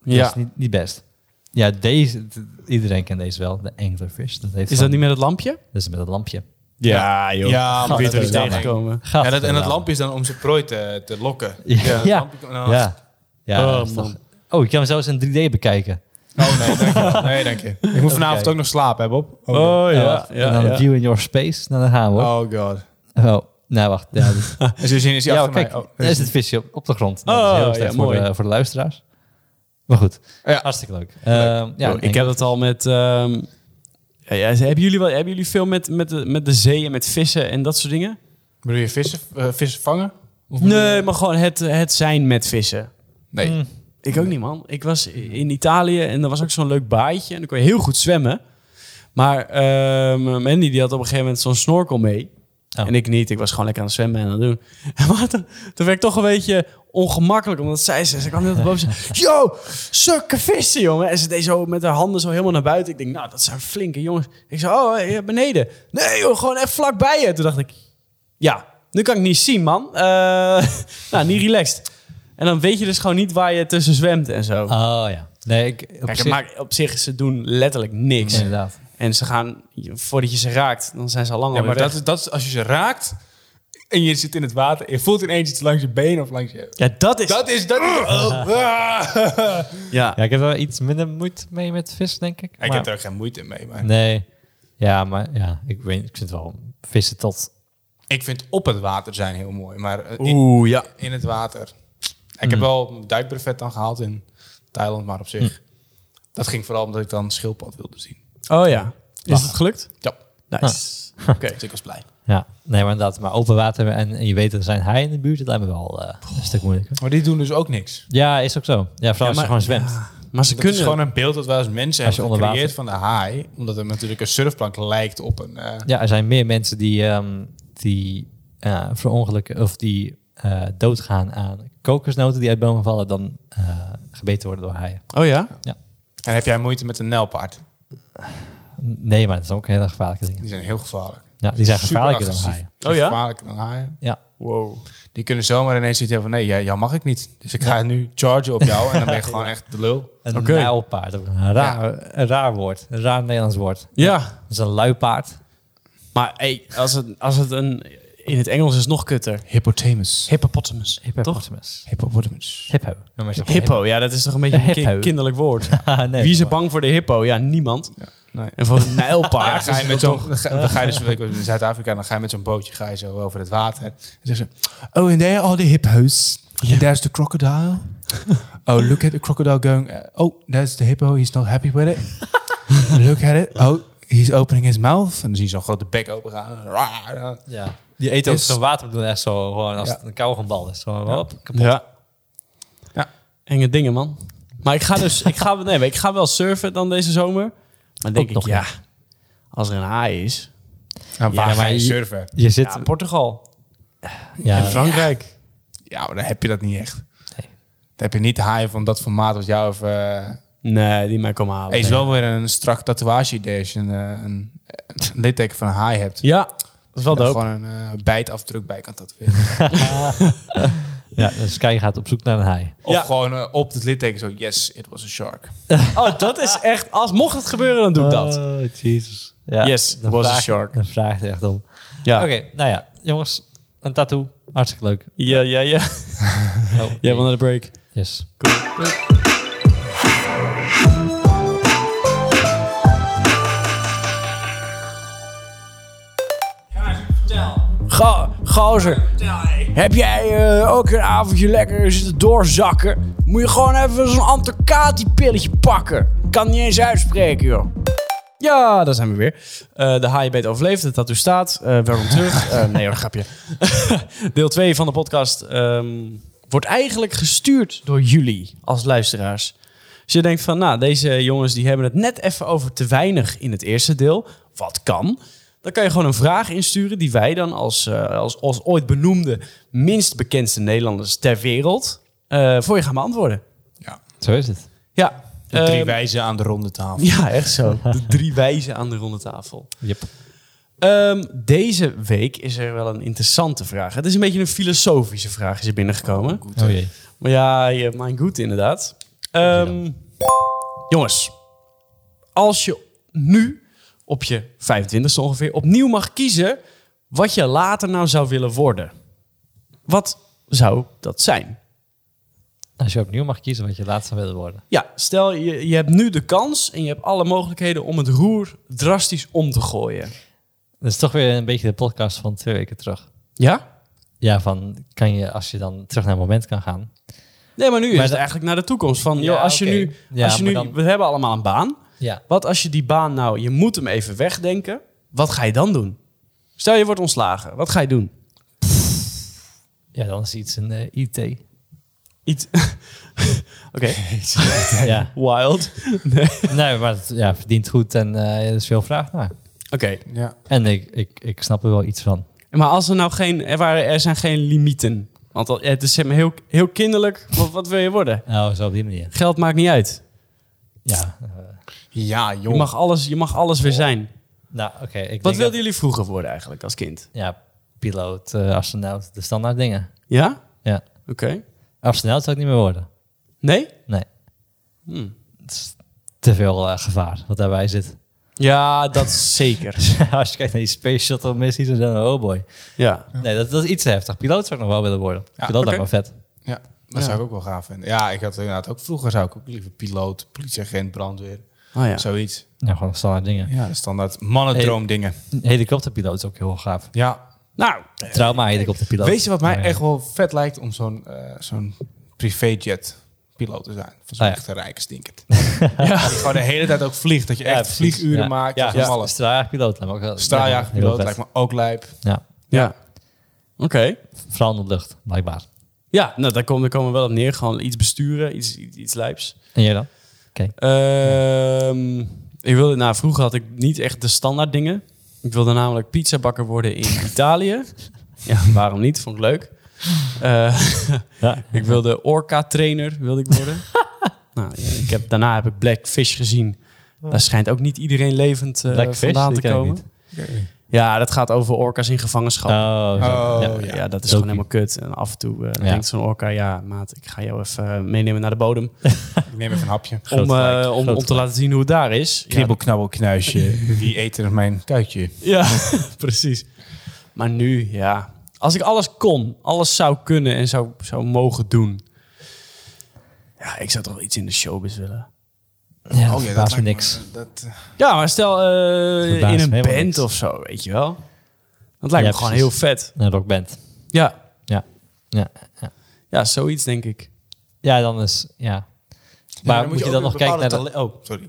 Speaker 2: Dat
Speaker 1: Ja.
Speaker 2: is niet, niet best. Ja, deze, d- iedereen kent deze wel, de anglerfish. Dat heeft
Speaker 1: Is dat niet met het lampje?
Speaker 2: Dat is met het lampje.
Speaker 1: Ja, joh.
Speaker 3: Ja,
Speaker 1: Weet
Speaker 3: maar
Speaker 1: je waar
Speaker 3: Oh, dat
Speaker 1: die
Speaker 3: is dan-
Speaker 1: tegenkomen?
Speaker 2: Gaat
Speaker 3: Ja, dat, en dat
Speaker 2: wel.
Speaker 3: lampje is dan om zijn prooi te, te lokken.
Speaker 2: Ja.
Speaker 3: dat
Speaker 2: Ja.
Speaker 3: lampje- nou,
Speaker 2: Ja. ja
Speaker 1: Oh,
Speaker 2: dat is toch-
Speaker 1: man.
Speaker 2: oh, ik kan hem zelfs in 3D bekijken.
Speaker 3: Oh nee, dank je. Nee, dank je. Ik moet vanavond
Speaker 2: kijken.
Speaker 3: ook nog slapen, hè Bob?
Speaker 1: Oh ja.
Speaker 2: wacht. en
Speaker 1: ja,
Speaker 2: dan
Speaker 1: ja.
Speaker 2: View in Your Space. Nou, dan gaan we. hoor.
Speaker 3: Oh god.
Speaker 2: Oh, nou wacht. Ja, dat is-
Speaker 3: En zo zien is hij
Speaker 2: ja,
Speaker 3: achter
Speaker 2: kijk, eh-
Speaker 3: mij. Oh,
Speaker 2: daar is het visje op, op de grond. Nou, dat is
Speaker 1: Oh,
Speaker 2: heel slecht
Speaker 1: ja,
Speaker 2: voor,
Speaker 1: mooi.
Speaker 2: de, voor de luisteraars. Maar goed,
Speaker 3: Ja.
Speaker 2: hartstikke leuk. Ehm, ja,
Speaker 1: Yo, ik heb dat al met... ehm, ja, ja, hebben, jullie wel, hebben jullie veel met, met, de, met de zee en met vissen en dat soort dingen?
Speaker 3: Bedoel je vissen, eh, vissen vangen?
Speaker 1: Nee, maar gewoon het, het zijn met vissen.
Speaker 3: Nee.
Speaker 2: Mm.
Speaker 1: Ik ook niet, man. Ik was in Italië en er was ook zo'n leuk baaitje. En dan kon je heel goed zwemmen. Maar ehm Mandy die had op een gegeven moment zo'n snorkel mee.
Speaker 2: Oh.
Speaker 1: En ik niet. Ik was gewoon lekker aan het zwemmen en aan het doen. Maar toen, toen werd ik toch een beetje ongemakkelijk. Omdat zij ze, ze kwam heel boven. Ze zei, yo, sukke vissen, jongen. En ze deed zo met haar handen zo helemaal naar buiten. Ik denk, nou, dat zijn flinke jongens. Ik zei, oh, eh, beneden. Nee, joh, gewoon echt vlakbij je. Toen dacht ik, ja, nu kan ik niet zien, man. Eh, nou, niet relaxed. En dan weet je dus gewoon niet waar je tussen zwemt en zo.
Speaker 2: Oh ja. Nee, ik, op
Speaker 1: Kijk,
Speaker 2: zich-
Speaker 1: het maakt op zich, ze doen letterlijk niks.
Speaker 2: Inderdaad.
Speaker 1: En ze gaan, voordat je ze raakt, dan zijn ze al lang
Speaker 3: Ja,
Speaker 1: alweer
Speaker 3: maar Oh, dat
Speaker 1: weg.
Speaker 3: is, dat is als je ze raakt en je zit in het water en je voelt ineens iets langs je been of langs je...
Speaker 1: Ja, dat is...
Speaker 3: Dat is... Dat is oh, ah.
Speaker 1: Ja.
Speaker 2: Ja, ik heb wel iets minder moeite mee met vis, denk ik.
Speaker 3: Ik
Speaker 2: maar-
Speaker 3: heb er ook geen moeite mee, maar...
Speaker 2: Nee. Ja, maar ja, ik, weet, ik vind wel vissen tot...
Speaker 3: Ik vind op het water zijn heel mooi, maar eh, in,
Speaker 1: Oeh, ja.
Speaker 3: in het water... Ik
Speaker 2: Mm.
Speaker 3: heb wel mijn duikbrevet dan gehaald in Thailand, maar op
Speaker 2: Mm.
Speaker 3: zich... Dat ging vooral omdat ik dan schildpad wilde zien.
Speaker 1: Oh ja. Is het gelukt?
Speaker 3: Ja,
Speaker 1: Nice.
Speaker 3: oké. Dus ik was blij.
Speaker 2: Ja, nee, maar inderdaad. Maar open water en, en je weet er zijn haaien in de buurt, dat lijkt me wel eh, een stuk moeilijker.
Speaker 3: Maar die doen dus ook niks.
Speaker 2: Ja, is ook zo. Ja, vooral als je
Speaker 1: maar-
Speaker 2: gewoon zwemt.
Speaker 1: Maar ze
Speaker 3: Dat
Speaker 1: kunnen...
Speaker 3: is gewoon een beeld dat wij als mensen
Speaker 2: Als je
Speaker 3: hebben
Speaker 2: onder
Speaker 3: gecreëerd van de haai. Omdat het natuurlijk een surfplank lijkt op een... eh,
Speaker 2: Ja, er zijn meer mensen die, ehm, die eh, verongelukken of die eh, doodgaan aan kokosnoten die uit bomen vallen dan eh, gebeten worden door haaien.
Speaker 1: Oh ja?
Speaker 3: En heb jij moeite met een nijlpaard?
Speaker 2: Nee, maar dat zijn ook hele gevaarlijke dingen.
Speaker 3: Die zijn heel gevaarlijk.
Speaker 2: Ja, die zijn gevaarlijker dan
Speaker 3: Superagressief.
Speaker 2: haaien.
Speaker 1: Oh ja?
Speaker 3: Gevaarlijker dan haaien.
Speaker 2: Ja.
Speaker 1: Wow.
Speaker 3: Die kunnen zomaar ineens zitten van... Nee, jij, jou mag ik niet. Dus ik ga nu chargen op jou. En dan ben je gewoon echt de lul.
Speaker 2: Een
Speaker 1: Oké.
Speaker 2: nijlpaard, ook een raar, een raar woord, een raar Nederlands woord.
Speaker 1: Ja.
Speaker 2: Dat is een luipaard.
Speaker 1: Maar hey, als, het, als het een in het Engels is het nog kutter.
Speaker 3: Hippotamus.
Speaker 1: Hippopotamus.
Speaker 2: Hippopotamus.
Speaker 3: Hippopotamus.
Speaker 2: Hippo. Noem maar eens een
Speaker 1: Hippo, ja, dat is toch een beetje een ki-
Speaker 2: Hippo.
Speaker 1: kinderlijk woord.
Speaker 2: Ah, nee,
Speaker 1: Wie is er
Speaker 2: maar-
Speaker 1: bang voor de hippo? Ja, niemand.
Speaker 3: Nee.
Speaker 1: En voor een
Speaker 3: Ja,
Speaker 1: nijlpaard.
Speaker 3: dan ga je met zo'n, dan ga- dan ga je dus ik was in Zuid-Afrika, dan ga je met zo'n bootje ga je zo over het water. En zeggen ze, oh, and there are the hippos. And there's the crocodile. Oh, look at the crocodile going, eh, oh, there's the hippo, he's not happy with it. look at it, oh, he's opening his mouth. En dan zie je zo'n grote bek open gaan. Raar.
Speaker 2: Ja. Die eten ook
Speaker 3: Is-
Speaker 2: zo'n water doen echt zo, gewoon als
Speaker 3: Ja.
Speaker 2: het een kauwgombal is. Zo, hop, kapot.
Speaker 1: Ja.
Speaker 3: Ja.
Speaker 1: Enge dingen, man. Maar ik ga dus, ik ga, nee, maar ik ga wel surfen dan deze zomer. Maar denk
Speaker 2: Ook
Speaker 1: ik,
Speaker 2: nog
Speaker 1: Oh, ja, als er een haai is.
Speaker 3: En waar
Speaker 2: maar
Speaker 3: ga je
Speaker 2: je-
Speaker 3: surfen?
Speaker 2: Je zit...
Speaker 1: Ja, Portugal.
Speaker 2: Ja,
Speaker 3: In Frankrijk. Ja, maar dan heb je dat niet echt.
Speaker 2: Nee.
Speaker 3: Dan heb je niet haaien van dat formaat als jou of... eh,
Speaker 1: Nee, die mij komen halen.
Speaker 3: Hey, is
Speaker 1: Nee.
Speaker 3: wel weer een strak tatoeage idee als je een, eh, een, een litteken van een haai hebt.
Speaker 1: Ja, dat is wel
Speaker 3: Dat
Speaker 1: dope.
Speaker 3: gewoon een eh, bijtafdruk bij kan tatoeëren.
Speaker 2: ja, dus Sky gaat op zoek naar een haai.
Speaker 3: Of
Speaker 1: Ja.
Speaker 3: gewoon eh, op het litteken zo, yes, it was a shark.
Speaker 1: Oh, dat is echt, als mocht het gebeuren, dan doe ik dat.
Speaker 2: Oh, jezus. Ja,
Speaker 1: Yes,
Speaker 2: dan
Speaker 1: was a
Speaker 2: vraag-
Speaker 1: shark.
Speaker 2: Dan vraagt hij echt om.
Speaker 1: Ja,
Speaker 2: Oké, nou ja. Jongens, een tattoo. Hartstikke leuk.
Speaker 1: ja, ja. ja.
Speaker 2: Oh,
Speaker 1: Jij wil naar de break.
Speaker 2: Yes.
Speaker 1: Ga, gozer, heb jij eh, ook een avondje lekker zitten doorzakken? Moet je gewoon even zo'n Anticati-pilletje pakken. Kan niet eens uitspreken, joh. Ja, daar zijn we weer. Eh, de HIB overleefd, het tattoo staat. Eh welkom terug. Eh, nee hoor, grapje. Deel 2 van de podcast ehm, wordt eigenlijk gestuurd door jullie als luisteraars. Dus je denkt van, nou, deze jongens die hebben het net even over te weinig in het eerste deel. Wat kan? Dan kan je gewoon een vraag insturen die wij dan als, eh, als, als ooit benoemde minst bekendste Nederlanders ter wereld eh, voor je gaan beantwoorden.
Speaker 2: Zo is het.
Speaker 1: Ja.
Speaker 3: De drie
Speaker 1: ehm,
Speaker 3: wijzen aan de ronde tafel.
Speaker 1: Ja, echt zo. De drie wijzen aan de ronde tafel.
Speaker 2: Yep.
Speaker 1: Ehm, deze week is er wel een interessante vraag. Het is een beetje een filosofische vraag, is er binnengekomen.
Speaker 3: Goed,
Speaker 2: Oh
Speaker 3: eh.
Speaker 2: jee.
Speaker 1: Maar ja, je- mijn goed inderdaad. Ehm, jongens, als je nu op je 25ste ongeveer opnieuw mag kiezen wat je later nou zou willen worden. Wat zou dat zijn?
Speaker 2: Als je opnieuw mag kiezen wat je laatst zou willen worden.
Speaker 1: Ja, stel je, je hebt nu de kans en je hebt alle mogelijkheden om het roer drastisch om te gooien.
Speaker 2: Dat is toch weer een beetje de podcast van twee weken terug.
Speaker 1: Ja?
Speaker 2: Ja, van kan je, als je dan terug naar het moment kan gaan.
Speaker 1: Nee, maar nu is
Speaker 2: Maar
Speaker 1: het
Speaker 2: dat-
Speaker 1: eigenlijk naar de toekomst. Van, joh,
Speaker 2: Ja,
Speaker 1: als je
Speaker 2: oké.
Speaker 1: nu,
Speaker 2: Ja,
Speaker 1: als je nu
Speaker 2: maar dan-
Speaker 1: we hebben allemaal een baan.
Speaker 2: Ja.
Speaker 1: Wat als je die baan nou, je moet hem even wegdenken. Wat ga je dan doen? Stel je wordt ontslagen, wat ga je doen?
Speaker 2: Ja, dan is iets eh, in de IT.
Speaker 1: Iets. Oké,
Speaker 2: ja.
Speaker 1: wild.
Speaker 2: Nee, maar het ja, verdient goed en eh, er is veel vraag naar.
Speaker 1: Oké,
Speaker 3: Ja.
Speaker 2: En ik, ik, ik snap er wel iets van.
Speaker 1: maar als er nou geen, er, waren, er zijn geen limieten. Want al- het is zeg maar heel, heel kinderlijk. Wat, wat wil je worden?
Speaker 2: Nou, zo op die manier.
Speaker 1: Geld maakt niet uit.
Speaker 2: Ja. eh,
Speaker 3: Ja, joh.
Speaker 1: Je mag alles, je mag alles weer zijn.
Speaker 2: nou, oké. ik denk
Speaker 1: Wat
Speaker 2: dat-
Speaker 1: wilden jullie vroeger worden eigenlijk als kind?
Speaker 2: Ja, piloot, eh, astronaut, de standaard dingen.
Speaker 1: Ja?
Speaker 2: Ja.
Speaker 1: Oké.
Speaker 2: Astronaut zou ik niet meer worden.
Speaker 1: Nee?
Speaker 2: Nee.
Speaker 1: Hm.
Speaker 2: Het is te veel eh, gevaar wat daarbij zit.
Speaker 1: Ja, dat zeker.
Speaker 2: Als je kijkt naar die Space Shuttle missies, dan denk je, oh boy.
Speaker 1: Ja.
Speaker 2: Nee, dat, dat is iets te heftig. Piloot zou ik nog wel willen worden.
Speaker 3: Ja,
Speaker 2: piloot
Speaker 1: oké.
Speaker 2: lijkt me vet.
Speaker 3: Ja,
Speaker 1: Ja.
Speaker 3: dat zou ik ook wel gaaf vinden. Ja, ik had inderdaad ook vroeger zou ik ook liever piloot, politieagent, brandweer,
Speaker 1: Oh ja.
Speaker 3: zoiets.
Speaker 2: Ja, gewoon standaard dingen.
Speaker 3: Ja, de standaard mannendroomdingen.
Speaker 2: Helikopterpiloot is ook heel gaaf.
Speaker 3: Ja.
Speaker 1: Nou,
Speaker 2: Trauma helikopterpiloot.
Speaker 3: Weet je wat mij
Speaker 2: Ja.
Speaker 3: echt wel vet lijkt om zo'n eh, zo'n privéjet piloot te zijn? Van zo'n
Speaker 2: Ah, ja.
Speaker 3: echte rijke stinkert. ja. Die gewoon de hele tijd ook vliegt. Dat je echt
Speaker 2: precies.
Speaker 3: vlieguren
Speaker 2: Ja.
Speaker 3: maakt.
Speaker 2: Ja,
Speaker 3: Ja,
Speaker 2: ja.
Speaker 3: alles.
Speaker 2: straaljagerpiloot lijkt me ook wel- ja, heel
Speaker 3: Straaljagerpiloot
Speaker 2: vet.
Speaker 3: lijkt me ook lijp.
Speaker 2: Ja,
Speaker 1: ja. Oké.
Speaker 2: vooral in de lucht, blijkbaar.
Speaker 1: Ja, nou, daar komen, daar komen we wel op neer. Gewoon iets besturen, iets, iets, iets lijps.
Speaker 2: En jij dan?
Speaker 1: Ehm, ik wilde, nou, vroeger had ik niet echt de standaard dingen. Ik wilde namelijk pizzabakker worden in Italië. Ja, waarom niet? Vond ik leuk. Eh,
Speaker 2: Ja.
Speaker 1: ik wilde orca-trainer wilde ik worden. nou, ik heb, daarna heb ik Blackfish gezien. Daar schijnt ook niet iedereen levend eh,
Speaker 2: Blackfish?
Speaker 1: vandaan
Speaker 2: Die
Speaker 1: te
Speaker 2: ken ik
Speaker 1: komen.
Speaker 2: niet.
Speaker 1: Ja, dat gaat over orka's in gevangenschap.
Speaker 2: Oh,
Speaker 3: Oh,
Speaker 2: ja.
Speaker 1: ja,
Speaker 3: ja.
Speaker 1: ja, dat
Speaker 2: Dokie.
Speaker 1: is gewoon helemaal kut. En af en toe eh,
Speaker 2: Ja.
Speaker 1: denkt zo'n orka, ja maat, ik ga jou even eh, meenemen naar de bodem.
Speaker 3: Ik neem even een hapje.
Speaker 2: Groot
Speaker 1: Om, eh,
Speaker 2: gelijk,
Speaker 1: om,
Speaker 2: groot
Speaker 1: om te laten zien hoe het daar is. Ja,
Speaker 3: Kribbel, knabbel, knuisje. Wie eet er mijn kuitje?
Speaker 1: Ja, precies. Maar nu, ja, Als ik alles kon, alles zou kunnen en zou, zou mogen doen. Ja, ik zou toch wel iets in de showbiz willen.
Speaker 2: Ja, dat
Speaker 3: ja,
Speaker 2: verbaast me
Speaker 3: lijkt
Speaker 2: niks.
Speaker 3: Oh, dat, eh,
Speaker 1: Ja, maar stel eh,
Speaker 2: Verbaast
Speaker 1: in
Speaker 2: me
Speaker 1: een
Speaker 2: helemaal
Speaker 1: band
Speaker 2: niks.
Speaker 1: of zo, weet je wel. Dat lijkt
Speaker 2: Ja,
Speaker 1: me gewoon
Speaker 2: precies.
Speaker 1: heel vet.
Speaker 2: Een rockband.
Speaker 1: Ja.
Speaker 2: Ja. Ja, ja.
Speaker 1: Ja, zoiets denk ik.
Speaker 2: Ja, dan is... Ja. Maar
Speaker 3: dan
Speaker 2: moet je dan
Speaker 3: ook
Speaker 2: nog kijken
Speaker 3: bepaalde
Speaker 2: naar
Speaker 3: tale- Oh, sorry.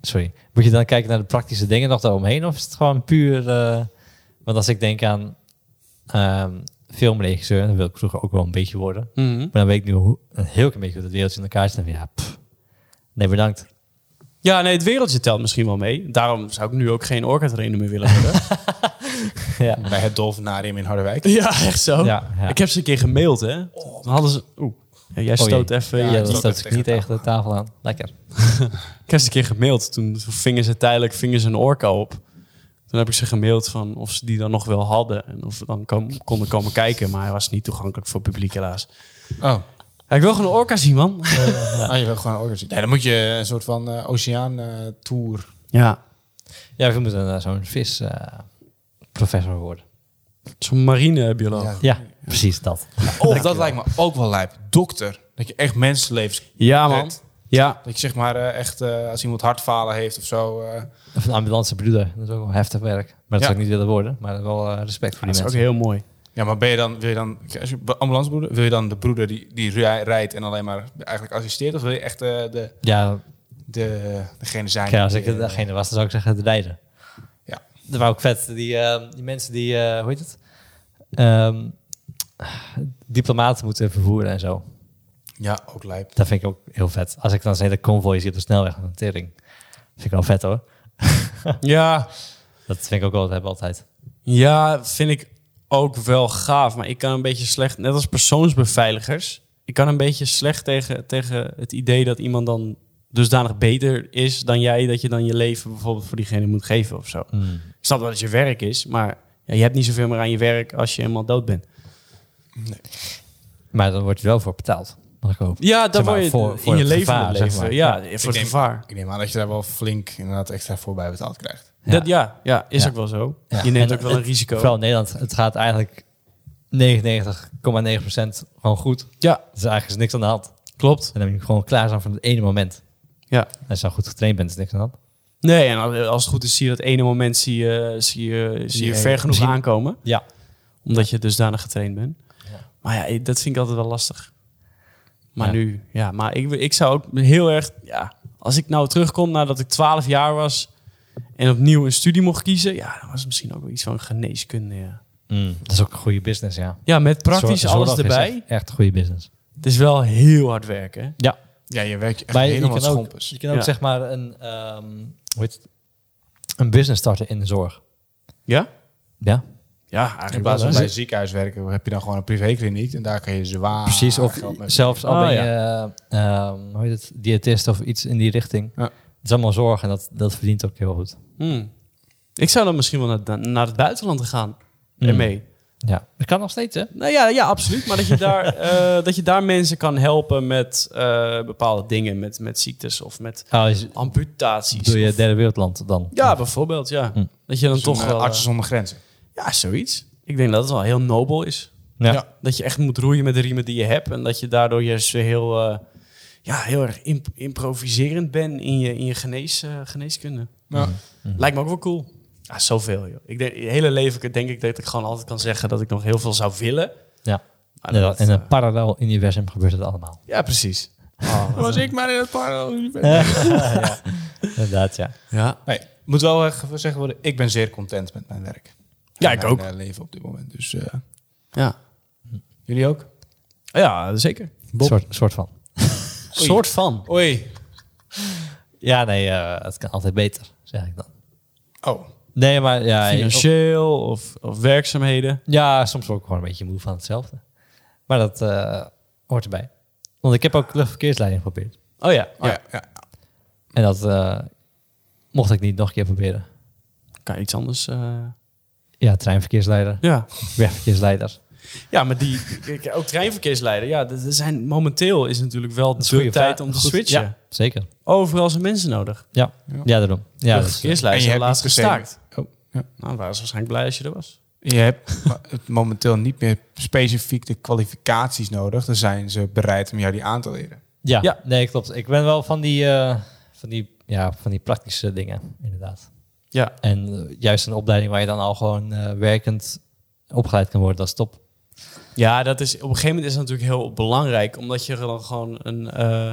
Speaker 2: Sorry. Moet je dan kijken naar de praktische dingen nog daaromheen? Of is het gewoon puur... eh, want als ik denk aan ehm, filmregisseur, dat wil ik vroeger ook wel een beetje worden.
Speaker 1: Mhm.
Speaker 2: Maar dan weet ik nu hoe, een heel klein beetje hoe het wereldje in elkaar zit. En ja, pff. nee bedankt.
Speaker 1: Ja, nee, het wereldje telt misschien wel mee. Daarom zou ik nu ook geen orca trainer meer willen worden.
Speaker 2: ja.
Speaker 3: Bij het Dolfinarium in
Speaker 2: Oh.
Speaker 3: Harderwijk.
Speaker 1: ja, echt zo.
Speaker 2: Ja, ja.
Speaker 1: Ik heb ze een keer gemaild, hè. Dan hadden ze... Oeh. Ja, jij
Speaker 2: Oh,
Speaker 1: stoot
Speaker 2: jee.
Speaker 1: even...
Speaker 2: Ja,
Speaker 1: je-
Speaker 2: dat
Speaker 3: die-
Speaker 2: stoot ik niet tegen de tafel aan. Lekker.
Speaker 1: Ik heb ze een keer gemaild. Toen vingen ze tijdelijk vingen ze een orka op. Toen heb ik ze gemaild van of ze die dan nog wel hadden. En of we dan kom- konden komen kijken. Maar hij was niet toegankelijk voor publiek helaas.
Speaker 3: Oh,
Speaker 1: Ja, ik wil gewoon een orka zien, man.
Speaker 3: ah, je wil gewoon een orka zien. Nee, dan moet je een soort van eh, oceaan oceaantour.
Speaker 1: Ja,
Speaker 2: Ja, we moeten eh, zo'n vis eh, professor worden.
Speaker 1: zo'n marinebioloog. Ja.
Speaker 3: Ja.
Speaker 2: Ja, precies dat.
Speaker 3: oh, dat lijkt me ook wel lijp. Dokter. Dat je echt mensenlevens...
Speaker 1: man.
Speaker 3: Vet.
Speaker 1: Ja.
Speaker 3: Dat je zeg maar eh, echt, eh, als iemand hartfalen heeft of zo... eh,
Speaker 2: Of een ambulance broeder. Dat is ook wel heftig werk. Maar dat
Speaker 3: Ja.
Speaker 2: zou ik niet willen worden. Maar wel eh, respect voor
Speaker 1: Dat
Speaker 2: die
Speaker 1: is ook
Speaker 2: mensen.
Speaker 1: heel mooi.
Speaker 3: ja, maar ben je dan... Wil je dan als je be- ambulancebroeder... Wil je dan de broeder die, die rij- rijdt en alleen maar eigenlijk assisteert? Of wil je echt eh, de,
Speaker 2: Ja,
Speaker 3: de, degene zijn?
Speaker 2: kijk, als ik
Speaker 3: die, eh,
Speaker 2: degene was, dan zou ik zeggen de rijden.
Speaker 3: Ja.
Speaker 2: Dat wou ook vet. Die, eh, die mensen die, eh, hoe heet het? Ehm, diplomaten moeten vervoeren en zo.
Speaker 3: Ja, ook lijp.
Speaker 2: Dat vind ik ook heel vet. Als ik dan zo'n hele convoy zie op de snelweg, een tering. Vind ik wel vet hoor.
Speaker 1: Ja.
Speaker 2: Dat vind ik ook wel hebben altijd.
Speaker 1: ja, vind ik ook wel gaaf. Maar ik kan een beetje slecht, net als persoonsbeveiligers... Ik kan een beetje slecht tegen, tegen het idee dat iemand dan dusdanig beter is dan jij... dat je dan je leven bijvoorbeeld voor diegene moet geven of zo.
Speaker 2: Mm.
Speaker 1: Ik snap wel dat het je werk is, maar ja, je hebt niet zoveel meer aan je werk als je helemaal dood bent.
Speaker 2: Maar dan wordt je wel voor betaald. Mag ik hoop.
Speaker 1: Ja, dan
Speaker 2: Zeg maar,
Speaker 1: word je
Speaker 2: voor-
Speaker 1: in
Speaker 2: voor
Speaker 1: je
Speaker 2: het
Speaker 1: leven
Speaker 2: gevaar,
Speaker 1: leven.
Speaker 2: zeg maar.
Speaker 1: Ja, voor het
Speaker 3: denk-
Speaker 1: gevaar.
Speaker 3: Ik neem aan dat je daar wel flink inderdaad extra voor bij betaald krijgt.
Speaker 2: Ja.
Speaker 1: Dat, ja, ja, is
Speaker 2: Ja.
Speaker 1: ook wel zo.
Speaker 2: Ja.
Speaker 1: Je neemt
Speaker 2: En
Speaker 1: ook wel een
Speaker 2: het-
Speaker 1: risico.
Speaker 2: Vooral in Nederland. Het gaat eigenlijk 99,9% gewoon goed.
Speaker 1: Ja,
Speaker 2: Dus eigenlijk is niks aan de hand.
Speaker 1: klopt.
Speaker 2: En dan moet je gewoon klaar zijn van het ene moment.
Speaker 1: Ja.
Speaker 2: En als je dan goed getraind bent, is niks aan de hand.
Speaker 1: Nee, en als- als het goed is, zie je dat ene moment zie je, zie je, zie je
Speaker 3: Nee,
Speaker 1: ver genoeg
Speaker 2: misschien-
Speaker 1: aankomen.
Speaker 2: Ja.
Speaker 1: Omdat je dusdanig getraind bent.
Speaker 2: Ja.
Speaker 1: Maar ja, dat vind ik altijd wel lastig. Maar
Speaker 2: Ja.
Speaker 1: nu, ja, maar ik, ik zou ook heel erg, ja, als ik nou terugkom nadat ik 12 jaar was en opnieuw een studie mocht kiezen, ja, dan was het misschien ook wel iets van geneeskunde. Ja,
Speaker 2: Mm, Dat is ook een goede business, ja.
Speaker 1: ja met praktisch
Speaker 2: Zor-
Speaker 1: alles
Speaker 2: zorg is
Speaker 1: erbij.
Speaker 2: Echt, echt een goede business.
Speaker 1: Het is wel heel hard werken. hè?
Speaker 2: Ja.
Speaker 3: Ja, je werkt echt
Speaker 2: Maar je,
Speaker 3: helemaal
Speaker 2: kan ook,
Speaker 3: schompers.
Speaker 2: je kan ook
Speaker 1: Ja.
Speaker 2: zeg maar een, ehm, hoe heet het? een business starten in de zorg.
Speaker 1: Ja?
Speaker 2: Ja.
Speaker 1: Ja,
Speaker 3: In
Speaker 1: eigenlijk
Speaker 3: plaats
Speaker 1: wel.
Speaker 3: van
Speaker 1: hè?
Speaker 3: bij een ziekenhuis werken, heb je dan gewoon een privékliniek. En daar kan je zwaar
Speaker 1: Ah,
Speaker 2: Precies, of
Speaker 3: geld mee
Speaker 2: zelfs al
Speaker 1: Oh,
Speaker 2: ben je
Speaker 1: ja.
Speaker 2: eh, ehm, hoe heet het, diëtist of iets in die richting.
Speaker 3: Ja.
Speaker 2: Het is allemaal zorg en dat, dat verdient ook heel goed.
Speaker 1: Hmm. Ik zou dan misschien wel naar, naar het buitenland gaan
Speaker 2: Hmm.
Speaker 1: ermee.
Speaker 2: Ja, dat kan nog steeds, hè?
Speaker 1: Nou ja, ja, absoluut. Maar dat je daar, eh, dat je daar mensen kan helpen met eh, bepaalde dingen. Met, met ziektes of met
Speaker 2: Oh, is,
Speaker 1: amputaties.
Speaker 2: doe je
Speaker 1: Of-
Speaker 2: derde wereldland dan?
Speaker 1: ja, bijvoorbeeld. Ja.
Speaker 2: Hmm.
Speaker 1: Dat je dan
Speaker 3: Zo'n,
Speaker 1: toch
Speaker 3: eh,
Speaker 1: wel... eh,
Speaker 3: Artsen zonder grenzen.
Speaker 1: ja, zoiets. Ik denk dat het wel heel nobel is.
Speaker 2: Ja.
Speaker 3: Ja.
Speaker 1: Dat je echt moet roeien met de riemen die je hebt. En dat je daardoor juist weer heel, eh, ja, heel erg imp- improviserend bent in je, in je genees, eh, geneeskunde.
Speaker 3: Ja.
Speaker 1: Lijkt me ook wel cool. Ja, zoveel, joh. Ik denk, het hele leven denk ik dat ik gewoon altijd kan zeggen dat ik nog heel veel zou willen.
Speaker 2: Ja.
Speaker 1: Maar
Speaker 2: Ja,
Speaker 1: dat,
Speaker 2: in
Speaker 1: eh,
Speaker 2: een parallel universum gebeurt het allemaal.
Speaker 1: ja precies.
Speaker 3: Was ik maar in het parallel
Speaker 2: Inderdaad, ja.
Speaker 1: ja.
Speaker 3: Eh. Nee, moet wel eh, gezegd worden, ik ben zeer content met mijn werk.
Speaker 1: Ja,
Speaker 3: En
Speaker 1: ik
Speaker 3: mijn,
Speaker 1: ook.
Speaker 3: eh, leven op dit moment. Dus eh,
Speaker 1: Ja.
Speaker 3: jullie ook?
Speaker 1: ja, zeker.
Speaker 2: Soort, soort van.
Speaker 1: Soort van.
Speaker 3: Oei.
Speaker 2: Ja, nee, eh, het kan altijd beter, zeg ik dan.
Speaker 3: Oh,
Speaker 2: Nee, maar ja, of-
Speaker 1: Financieel of, of werkzaamheden.
Speaker 2: ja, soms word ik gewoon een beetje moe van hetzelfde. Maar dat eh, hoort erbij. Want ik heb ook luchtverkeersleiding geprobeerd.
Speaker 1: Oh ja.
Speaker 3: oh ja. ja.
Speaker 2: En dat eh, mocht ik niet nog een keer proberen.
Speaker 1: Kan iets anders. eh,
Speaker 2: Ja, treinverkeersleider,
Speaker 1: ja.
Speaker 2: wegverkeersleider.
Speaker 1: ja, maar die, ik- ook treinverkeersleider. Ja, er er zijn, momenteel is natuurlijk wel
Speaker 2: Dat is
Speaker 1: de
Speaker 2: goede
Speaker 1: tijd
Speaker 2: vraag.
Speaker 1: om te
Speaker 2: Goed,
Speaker 1: switchen.
Speaker 2: Ja, zeker.
Speaker 1: Overal zijn mensen nodig.
Speaker 2: Ja,
Speaker 3: Ja.
Speaker 2: ja daarom. Ja,
Speaker 1: de
Speaker 2: dat is-
Speaker 1: verkeersleider
Speaker 3: En
Speaker 1: is
Speaker 3: je
Speaker 1: al
Speaker 3: hebt
Speaker 1: laatst
Speaker 3: niet gezeten.
Speaker 1: gestaakt.
Speaker 3: Oh, ja.
Speaker 1: Nou, dan waren ze waarschijnlijk blij als je er was.
Speaker 3: Je hebt ma- het momenteel niet meer specifiek de kwalificaties nodig. Dan zijn ze bereid om jou die aan te leren.
Speaker 2: Ja,
Speaker 1: Ja.
Speaker 2: nee, klopt. Ik ben wel van die, eh, van die, ja, van die praktische dingen, inderdaad.
Speaker 1: Ja.
Speaker 2: En eh, juist een opleiding waar je dan al gewoon eh, werkend opgeleid kan worden, dat is top.
Speaker 1: Ja, dat is, op een gegeven moment is dat natuurlijk heel belangrijk, omdat je er dan gewoon een, eh,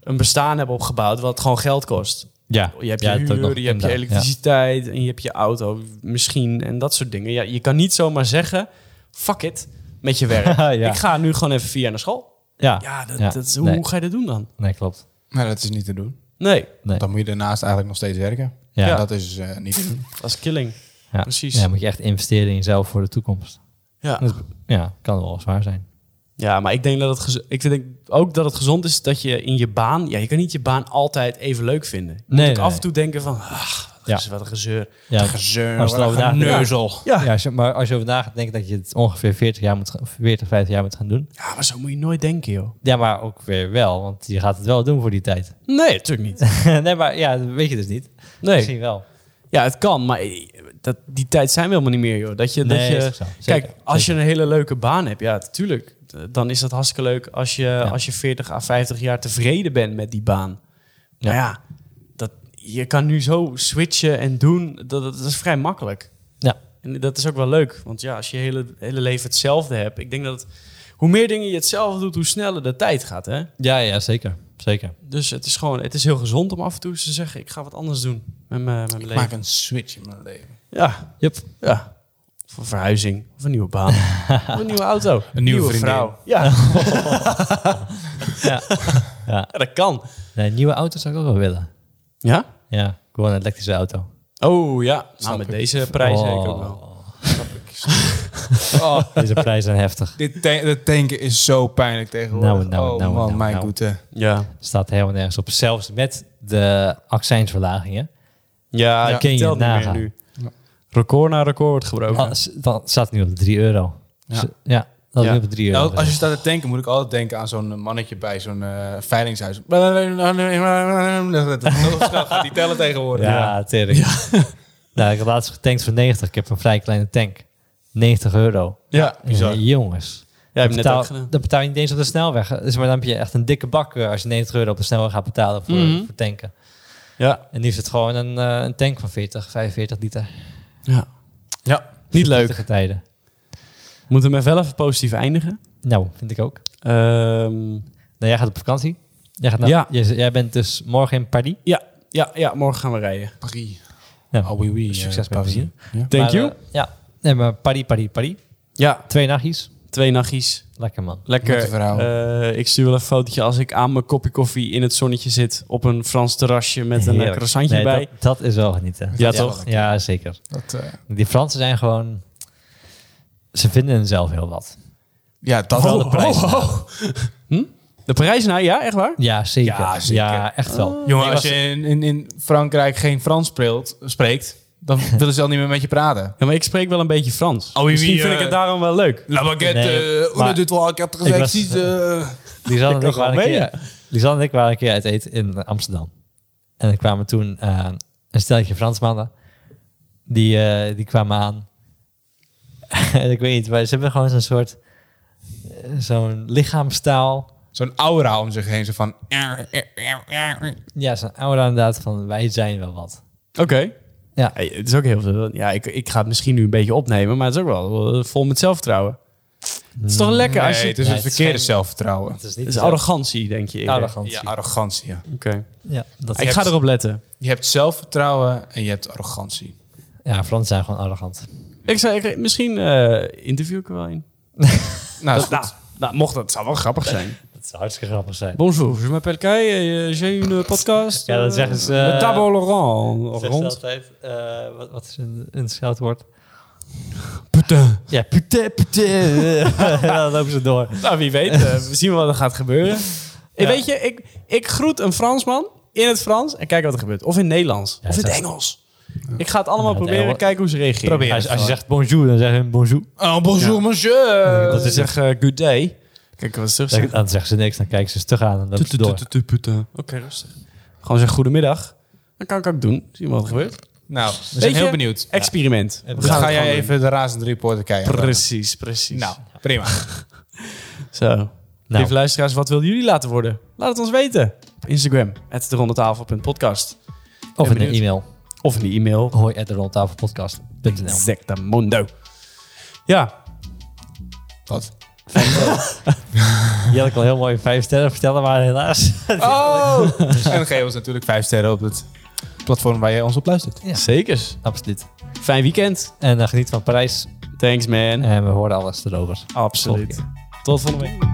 Speaker 1: een bestaan hebt opgebouwd wat gewoon geld kost.
Speaker 2: Ja,
Speaker 1: Oh, Je hebt je huur, je hebt je elektriciteit en je hebt je auto misschien en dat soort dingen. Ja, je kan niet zomaar zeggen, fuck it, met je werk.
Speaker 2: Ja,
Speaker 1: Ik ga nu gewoon even vier jaar naar school.
Speaker 2: ja.
Speaker 1: Ja, dat,
Speaker 2: Ja,
Speaker 1: dat is, hoe,
Speaker 2: nee.
Speaker 1: hoe ga je dat doen dan?
Speaker 2: nee, klopt.
Speaker 3: Maar dat is niet te doen.
Speaker 1: Nee,
Speaker 2: Nee.
Speaker 3: Dan moet je daarnaast eigenlijk nog steeds werken.
Speaker 2: Ja,
Speaker 3: En
Speaker 2: ja.
Speaker 3: Dat is eh, niet te doen.
Speaker 1: dat is killing.
Speaker 2: Ja.
Speaker 1: Precies.
Speaker 2: dan moet je echt investeren in jezelf voor de toekomst.
Speaker 1: Ja.
Speaker 2: Dat is- ja, kan wel zwaar zijn.
Speaker 1: Ja, maar ik denk dat het gez- ik denk ook dat het gezond is dat je in je baan, ja, je kan niet je baan altijd even leuk vinden. Je
Speaker 2: Nee,
Speaker 1: moet ook
Speaker 2: nee,
Speaker 1: af en toe denken van, ach, wat,
Speaker 2: Ja.
Speaker 1: gez- wat een gezeur.
Speaker 2: Ja,
Speaker 3: Gezeur,
Speaker 2: Als je
Speaker 3: wat een
Speaker 2: erover nadenkt.
Speaker 3: geneuzel.
Speaker 1: Ja.
Speaker 2: ja, als je, maar als je over na gaat denken dat je het ongeveer 40, jaar moet, gaan- 40, 50 jaar moet gaan doen.
Speaker 1: Ja, maar zo moet je nooit denken, joh.
Speaker 2: Ja, maar ook weer wel, want je gaat het wel doen voor die tijd.
Speaker 1: Nee, natuurlijk niet.
Speaker 2: nee, maar ja, dat weet je dus niet.
Speaker 1: Nee.
Speaker 2: Misschien wel.
Speaker 1: Ja, het kan, maar eh, dat, die tijd zijn we helemaal niet meer, joh. Dat je,
Speaker 2: Nee,
Speaker 1: dat
Speaker 2: is
Speaker 1: je
Speaker 2: ook zo. Zeker,
Speaker 1: kijk, als je een hele leuke baan hebt, ja, natuurlijk, dan is dat hartstikke leuk als je, als je 40 à 50 jaar tevreden bent met die baan.
Speaker 2: Ja.
Speaker 1: Maar ja, dat, je kan nu zo switchen en doen, dat, dat, dat is vrij makkelijk.
Speaker 2: Ja.
Speaker 1: En dat is ook wel leuk, want ja, als je hele, hele leven hetzelfde hebt, ik denk dat hoe meer dingen je hetzelfde doet, hoe sneller de tijd gaat, hè?
Speaker 2: Ja, ja, zeker. Zeker.
Speaker 1: Dus het is gewoon, het is heel gezond om af en toe eens te zeggen, ik ga wat anders doen met mijn, met mijn leven.
Speaker 3: Maak een switch in mijn leven.
Speaker 1: Ja,
Speaker 2: Yep.
Speaker 1: Ja. Of een verhuizing. Of een nieuwe baan. of een nieuwe auto. Een
Speaker 3: nieuwe vriendin.
Speaker 1: Ja.
Speaker 2: Ja.
Speaker 1: ja. Dat kan.
Speaker 2: Nee, nieuwe auto zou ik ook wel willen.
Speaker 1: Ja?
Speaker 2: Ja, gewoon een elektrische auto.
Speaker 1: Oh ja.
Speaker 3: Snap
Speaker 1: Nou, met
Speaker 3: ik.
Speaker 1: deze prijs
Speaker 2: Oh.
Speaker 1: denk ik ook wel.
Speaker 2: Deze prijzen zijn heftig.
Speaker 3: Dit ta- dat tanken is zo pijnlijk tegenwoordig.
Speaker 2: Nou, nou,
Speaker 3: oh
Speaker 2: nou,
Speaker 3: man,
Speaker 2: nou,
Speaker 3: mijn
Speaker 2: nou.
Speaker 3: goede.
Speaker 1: Ja.
Speaker 2: Staat helemaal nergens op. Zelfs met de accijnsverlagingen.
Speaker 1: Ja,
Speaker 2: Ja.
Speaker 1: ik
Speaker 2: Kun je
Speaker 1: telt niet meer
Speaker 2: nagaan.
Speaker 1: nu. Record na record wordt gebroken.
Speaker 2: Al- s- Dan staat nu op de 3 euro.
Speaker 3: Ja.
Speaker 2: Ja, ja dat
Speaker 1: Ja.
Speaker 2: nu op de 3 euro.
Speaker 3: Nou, als je staat te tanken, moet ik altijd denken aan zo'n eh, mannetje bij zo'n eh veilingshuis. Heel snel gaat die tellen tegenwoordig.
Speaker 2: Ja, tering. nou, ik heb laatst getankt voor 90. Ik heb een vrij kleine tank. 90 euro.
Speaker 1: ja.
Speaker 3: Bizar.
Speaker 2: Eh, jongens.
Speaker 1: Jij
Speaker 2: Dat
Speaker 1: hebt net
Speaker 2: betaal-
Speaker 1: ook gedaan.
Speaker 2: Dat betaal je niet eens op de snelweg. Dus maar dan heb je echt een dikke bak eh, als je 90 euro op de snelweg gaat betalen voor,
Speaker 1: Mhm.
Speaker 2: voor tanken.
Speaker 1: Ja.
Speaker 2: En nu is het gewoon een, eh, een tank van 40, 45 liter.
Speaker 1: ja.
Speaker 3: Ja.
Speaker 1: Niet leuk.
Speaker 2: Pittige tijden.
Speaker 1: Moeten we hem wel even positief eindigen.
Speaker 2: Nou, vind ik ook.
Speaker 1: Ehm,
Speaker 2: Nou, jij gaat op vakantie. Jij, gaat naar,
Speaker 1: Ja.
Speaker 2: jij, jij bent dus morgen in Paris.
Speaker 1: ja, ja, morgen gaan we rijden.
Speaker 3: Paris.
Speaker 2: Ja.
Speaker 3: Oh, oui, oui, eh,
Speaker 2: Succes met
Speaker 3: Paris.
Speaker 2: plezier.
Speaker 1: Thank
Speaker 2: Maar,
Speaker 1: you.
Speaker 2: eh, ja, nee, maar Paris, Paris, Paris.
Speaker 1: ja,
Speaker 2: Twee nachtjes.
Speaker 1: twee nachtjes.
Speaker 2: Lekker man.
Speaker 1: Lekker.
Speaker 3: Moet een verhaal.
Speaker 1: eh, ik stuur wel een fotootje als ik aan mijn kopje koffie in het zonnetje zit. Op een Frans terrasje met een eh,
Speaker 2: Heerlijk.
Speaker 1: croissantje
Speaker 2: Nee,
Speaker 1: erbij.
Speaker 2: Dat, dat is wel genieten.
Speaker 1: Ja,
Speaker 3: Dat is wel
Speaker 1: toch?
Speaker 3: lekker.
Speaker 2: Ja, zeker.
Speaker 3: Dat, eh,
Speaker 2: Die Fransen zijn gewoon... Ze vinden zelf heel wat.
Speaker 3: ja, dat Oh,
Speaker 2: Vooral
Speaker 3: wel.
Speaker 2: de
Speaker 1: Oh,
Speaker 2: prijs.
Speaker 1: De Parijzenaar, ja, echt waar?
Speaker 2: Ja, zeker.
Speaker 3: Ja, zeker.
Speaker 2: Ja, echt wel.
Speaker 3: Jongen,
Speaker 1: Ik
Speaker 3: als
Speaker 1: was-
Speaker 3: je in, in, in Frankrijk geen Frans spreelt, spreekt, dan willen ze al niet meer met je praten.
Speaker 1: Ja, maar ik spreek wel een beetje Frans.
Speaker 3: Oh, wie-
Speaker 1: Misschien
Speaker 3: wie,
Speaker 1: vind ik
Speaker 3: eh,
Speaker 1: het daarom wel leuk.
Speaker 3: La baguette,
Speaker 2: Nee,
Speaker 3: eh, on
Speaker 2: maar-
Speaker 3: a dit trois, quatre,
Speaker 2: Ik
Speaker 3: cinq,
Speaker 2: was-
Speaker 3: six, eh.
Speaker 2: Lisanne en,
Speaker 1: kan
Speaker 2: ik waren een
Speaker 1: gewoon mee,
Speaker 2: keer, Lisanne en ik waren een keer uit eten in Amsterdam. En er kwamen toen eh, een stelletje Fransmannen. Die, eh, die kwamen aan. En ik weet niet, maar ze hebben gewoon zo'n soort... eh, Zo'n lichaamstaal.
Speaker 3: Zo'n aura om zich heen, zo van...
Speaker 2: Ja, zo'n aura inderdaad van wij zijn wel wat.
Speaker 1: Oké.
Speaker 2: Ja.
Speaker 1: Hey, het is ook heel veel. Ja, ik, ik ga het misschien nu een beetje opnemen, maar het is ook wel eh, vol met zelfvertrouwen. Het is toch lekker als
Speaker 3: Nee,
Speaker 1: je...
Speaker 3: het is
Speaker 2: Nee,
Speaker 3: het
Speaker 2: het is
Speaker 3: verkeerde
Speaker 2: geen-
Speaker 3: zelfvertrouwen.
Speaker 2: Het is
Speaker 1: Het
Speaker 2: niet
Speaker 1: is
Speaker 2: zo-
Speaker 1: arrogantie, denk je. eerder.
Speaker 2: arrogantie.
Speaker 3: Ja,
Speaker 2: Ja,
Speaker 3: arrogantie, ja.
Speaker 1: Oké.
Speaker 2: dat
Speaker 1: Ik
Speaker 2: is-
Speaker 1: ga erop letten.
Speaker 3: Je hebt zelfvertrouwen en je hebt arrogantie.
Speaker 2: ja, Fransen zijn gewoon arrogant.
Speaker 1: Ik zei, ik- misschien eh, interview ik er wel in.
Speaker 3: Nou, is
Speaker 1: Dat- nou, nou, mocht dat, zou wel grappig zijn.
Speaker 2: Dat zou hartstikke grappig zijn.
Speaker 1: Bonjour, je m'appelle Kai, eh, j'ai une podcast.
Speaker 2: Ja, dat
Speaker 1: eh,
Speaker 2: zeggen ze, eh,
Speaker 1: Le table
Speaker 2: Zeg
Speaker 1: Laurent,
Speaker 2: ze
Speaker 1: rond.
Speaker 2: altijd, eh, wat, wat is een, een scheldwoord?
Speaker 1: Putain.
Speaker 2: Ja, putain, putain. dan lopen ze door.
Speaker 1: Nou, wie weet, eh, we zien wat er gaat gebeuren. En Weet je, ik, ik groet een Fransman in het Frans en kijk wat er gebeurt. Of in het Nederlands,
Speaker 2: Ja,
Speaker 1: of in het
Speaker 2: dat-
Speaker 1: Engels. Ik ga het allemaal
Speaker 2: Ja, het
Speaker 1: proberen,
Speaker 2: Engel-
Speaker 1: kijken hoe ze reageren.
Speaker 3: Probeer.
Speaker 2: Als, als je zegt bonjour, dan zeggen ze bonjour.
Speaker 1: nou.
Speaker 3: Oh, bonjour, monsieur.
Speaker 1: Dat is echt eh, good day. Kijk wat ze terug
Speaker 2: Dan,
Speaker 1: zeggen.
Speaker 2: dan zeggen ze niks, dan kijken ze stug aan en dan lopen ze door.
Speaker 1: Oké, rustig. Gewoon zeggen goedemiddag. Dat kan ik ook doen. Zien we wat er gebeurt.
Speaker 3: Nou, we zijn
Speaker 1: Weet
Speaker 3: heel
Speaker 1: je?
Speaker 3: benieuwd.
Speaker 1: Experiment.
Speaker 2: En we
Speaker 1: We
Speaker 3: Dan
Speaker 1: gaan
Speaker 3: ga
Speaker 1: het
Speaker 3: jij
Speaker 1: gewoon
Speaker 3: even de razend reporter kijken.
Speaker 1: doen. Precies, precies.
Speaker 3: Nou, prima.
Speaker 1: Zo.
Speaker 2: Nou.
Speaker 1: Lieve luisteraars, wat wilden jullie laten worden? Laat het ons weten. Op Instagram, @derondetafel.podcast
Speaker 2: Of in een
Speaker 1: benieuwd.
Speaker 2: e-mail.
Speaker 1: Of in de e-mail.
Speaker 2: Hoi at rondtafelpodcast.nl.
Speaker 1: Exactamundo. Ja,
Speaker 3: Wat?
Speaker 2: Jelle kan heel mooi vijf sterren vertellen, maar helaas.
Speaker 3: Oh! en dan geef ons natuurlijk vijf sterren op het platform waar jij ons op luistert.
Speaker 2: Ja.
Speaker 1: zekers.
Speaker 2: Absoluut.
Speaker 1: Fijn weekend.
Speaker 2: En eh, geniet van Parijs.
Speaker 1: Thanks man.
Speaker 2: En we horen alles erover.
Speaker 1: Absoluut. Tot volgende week.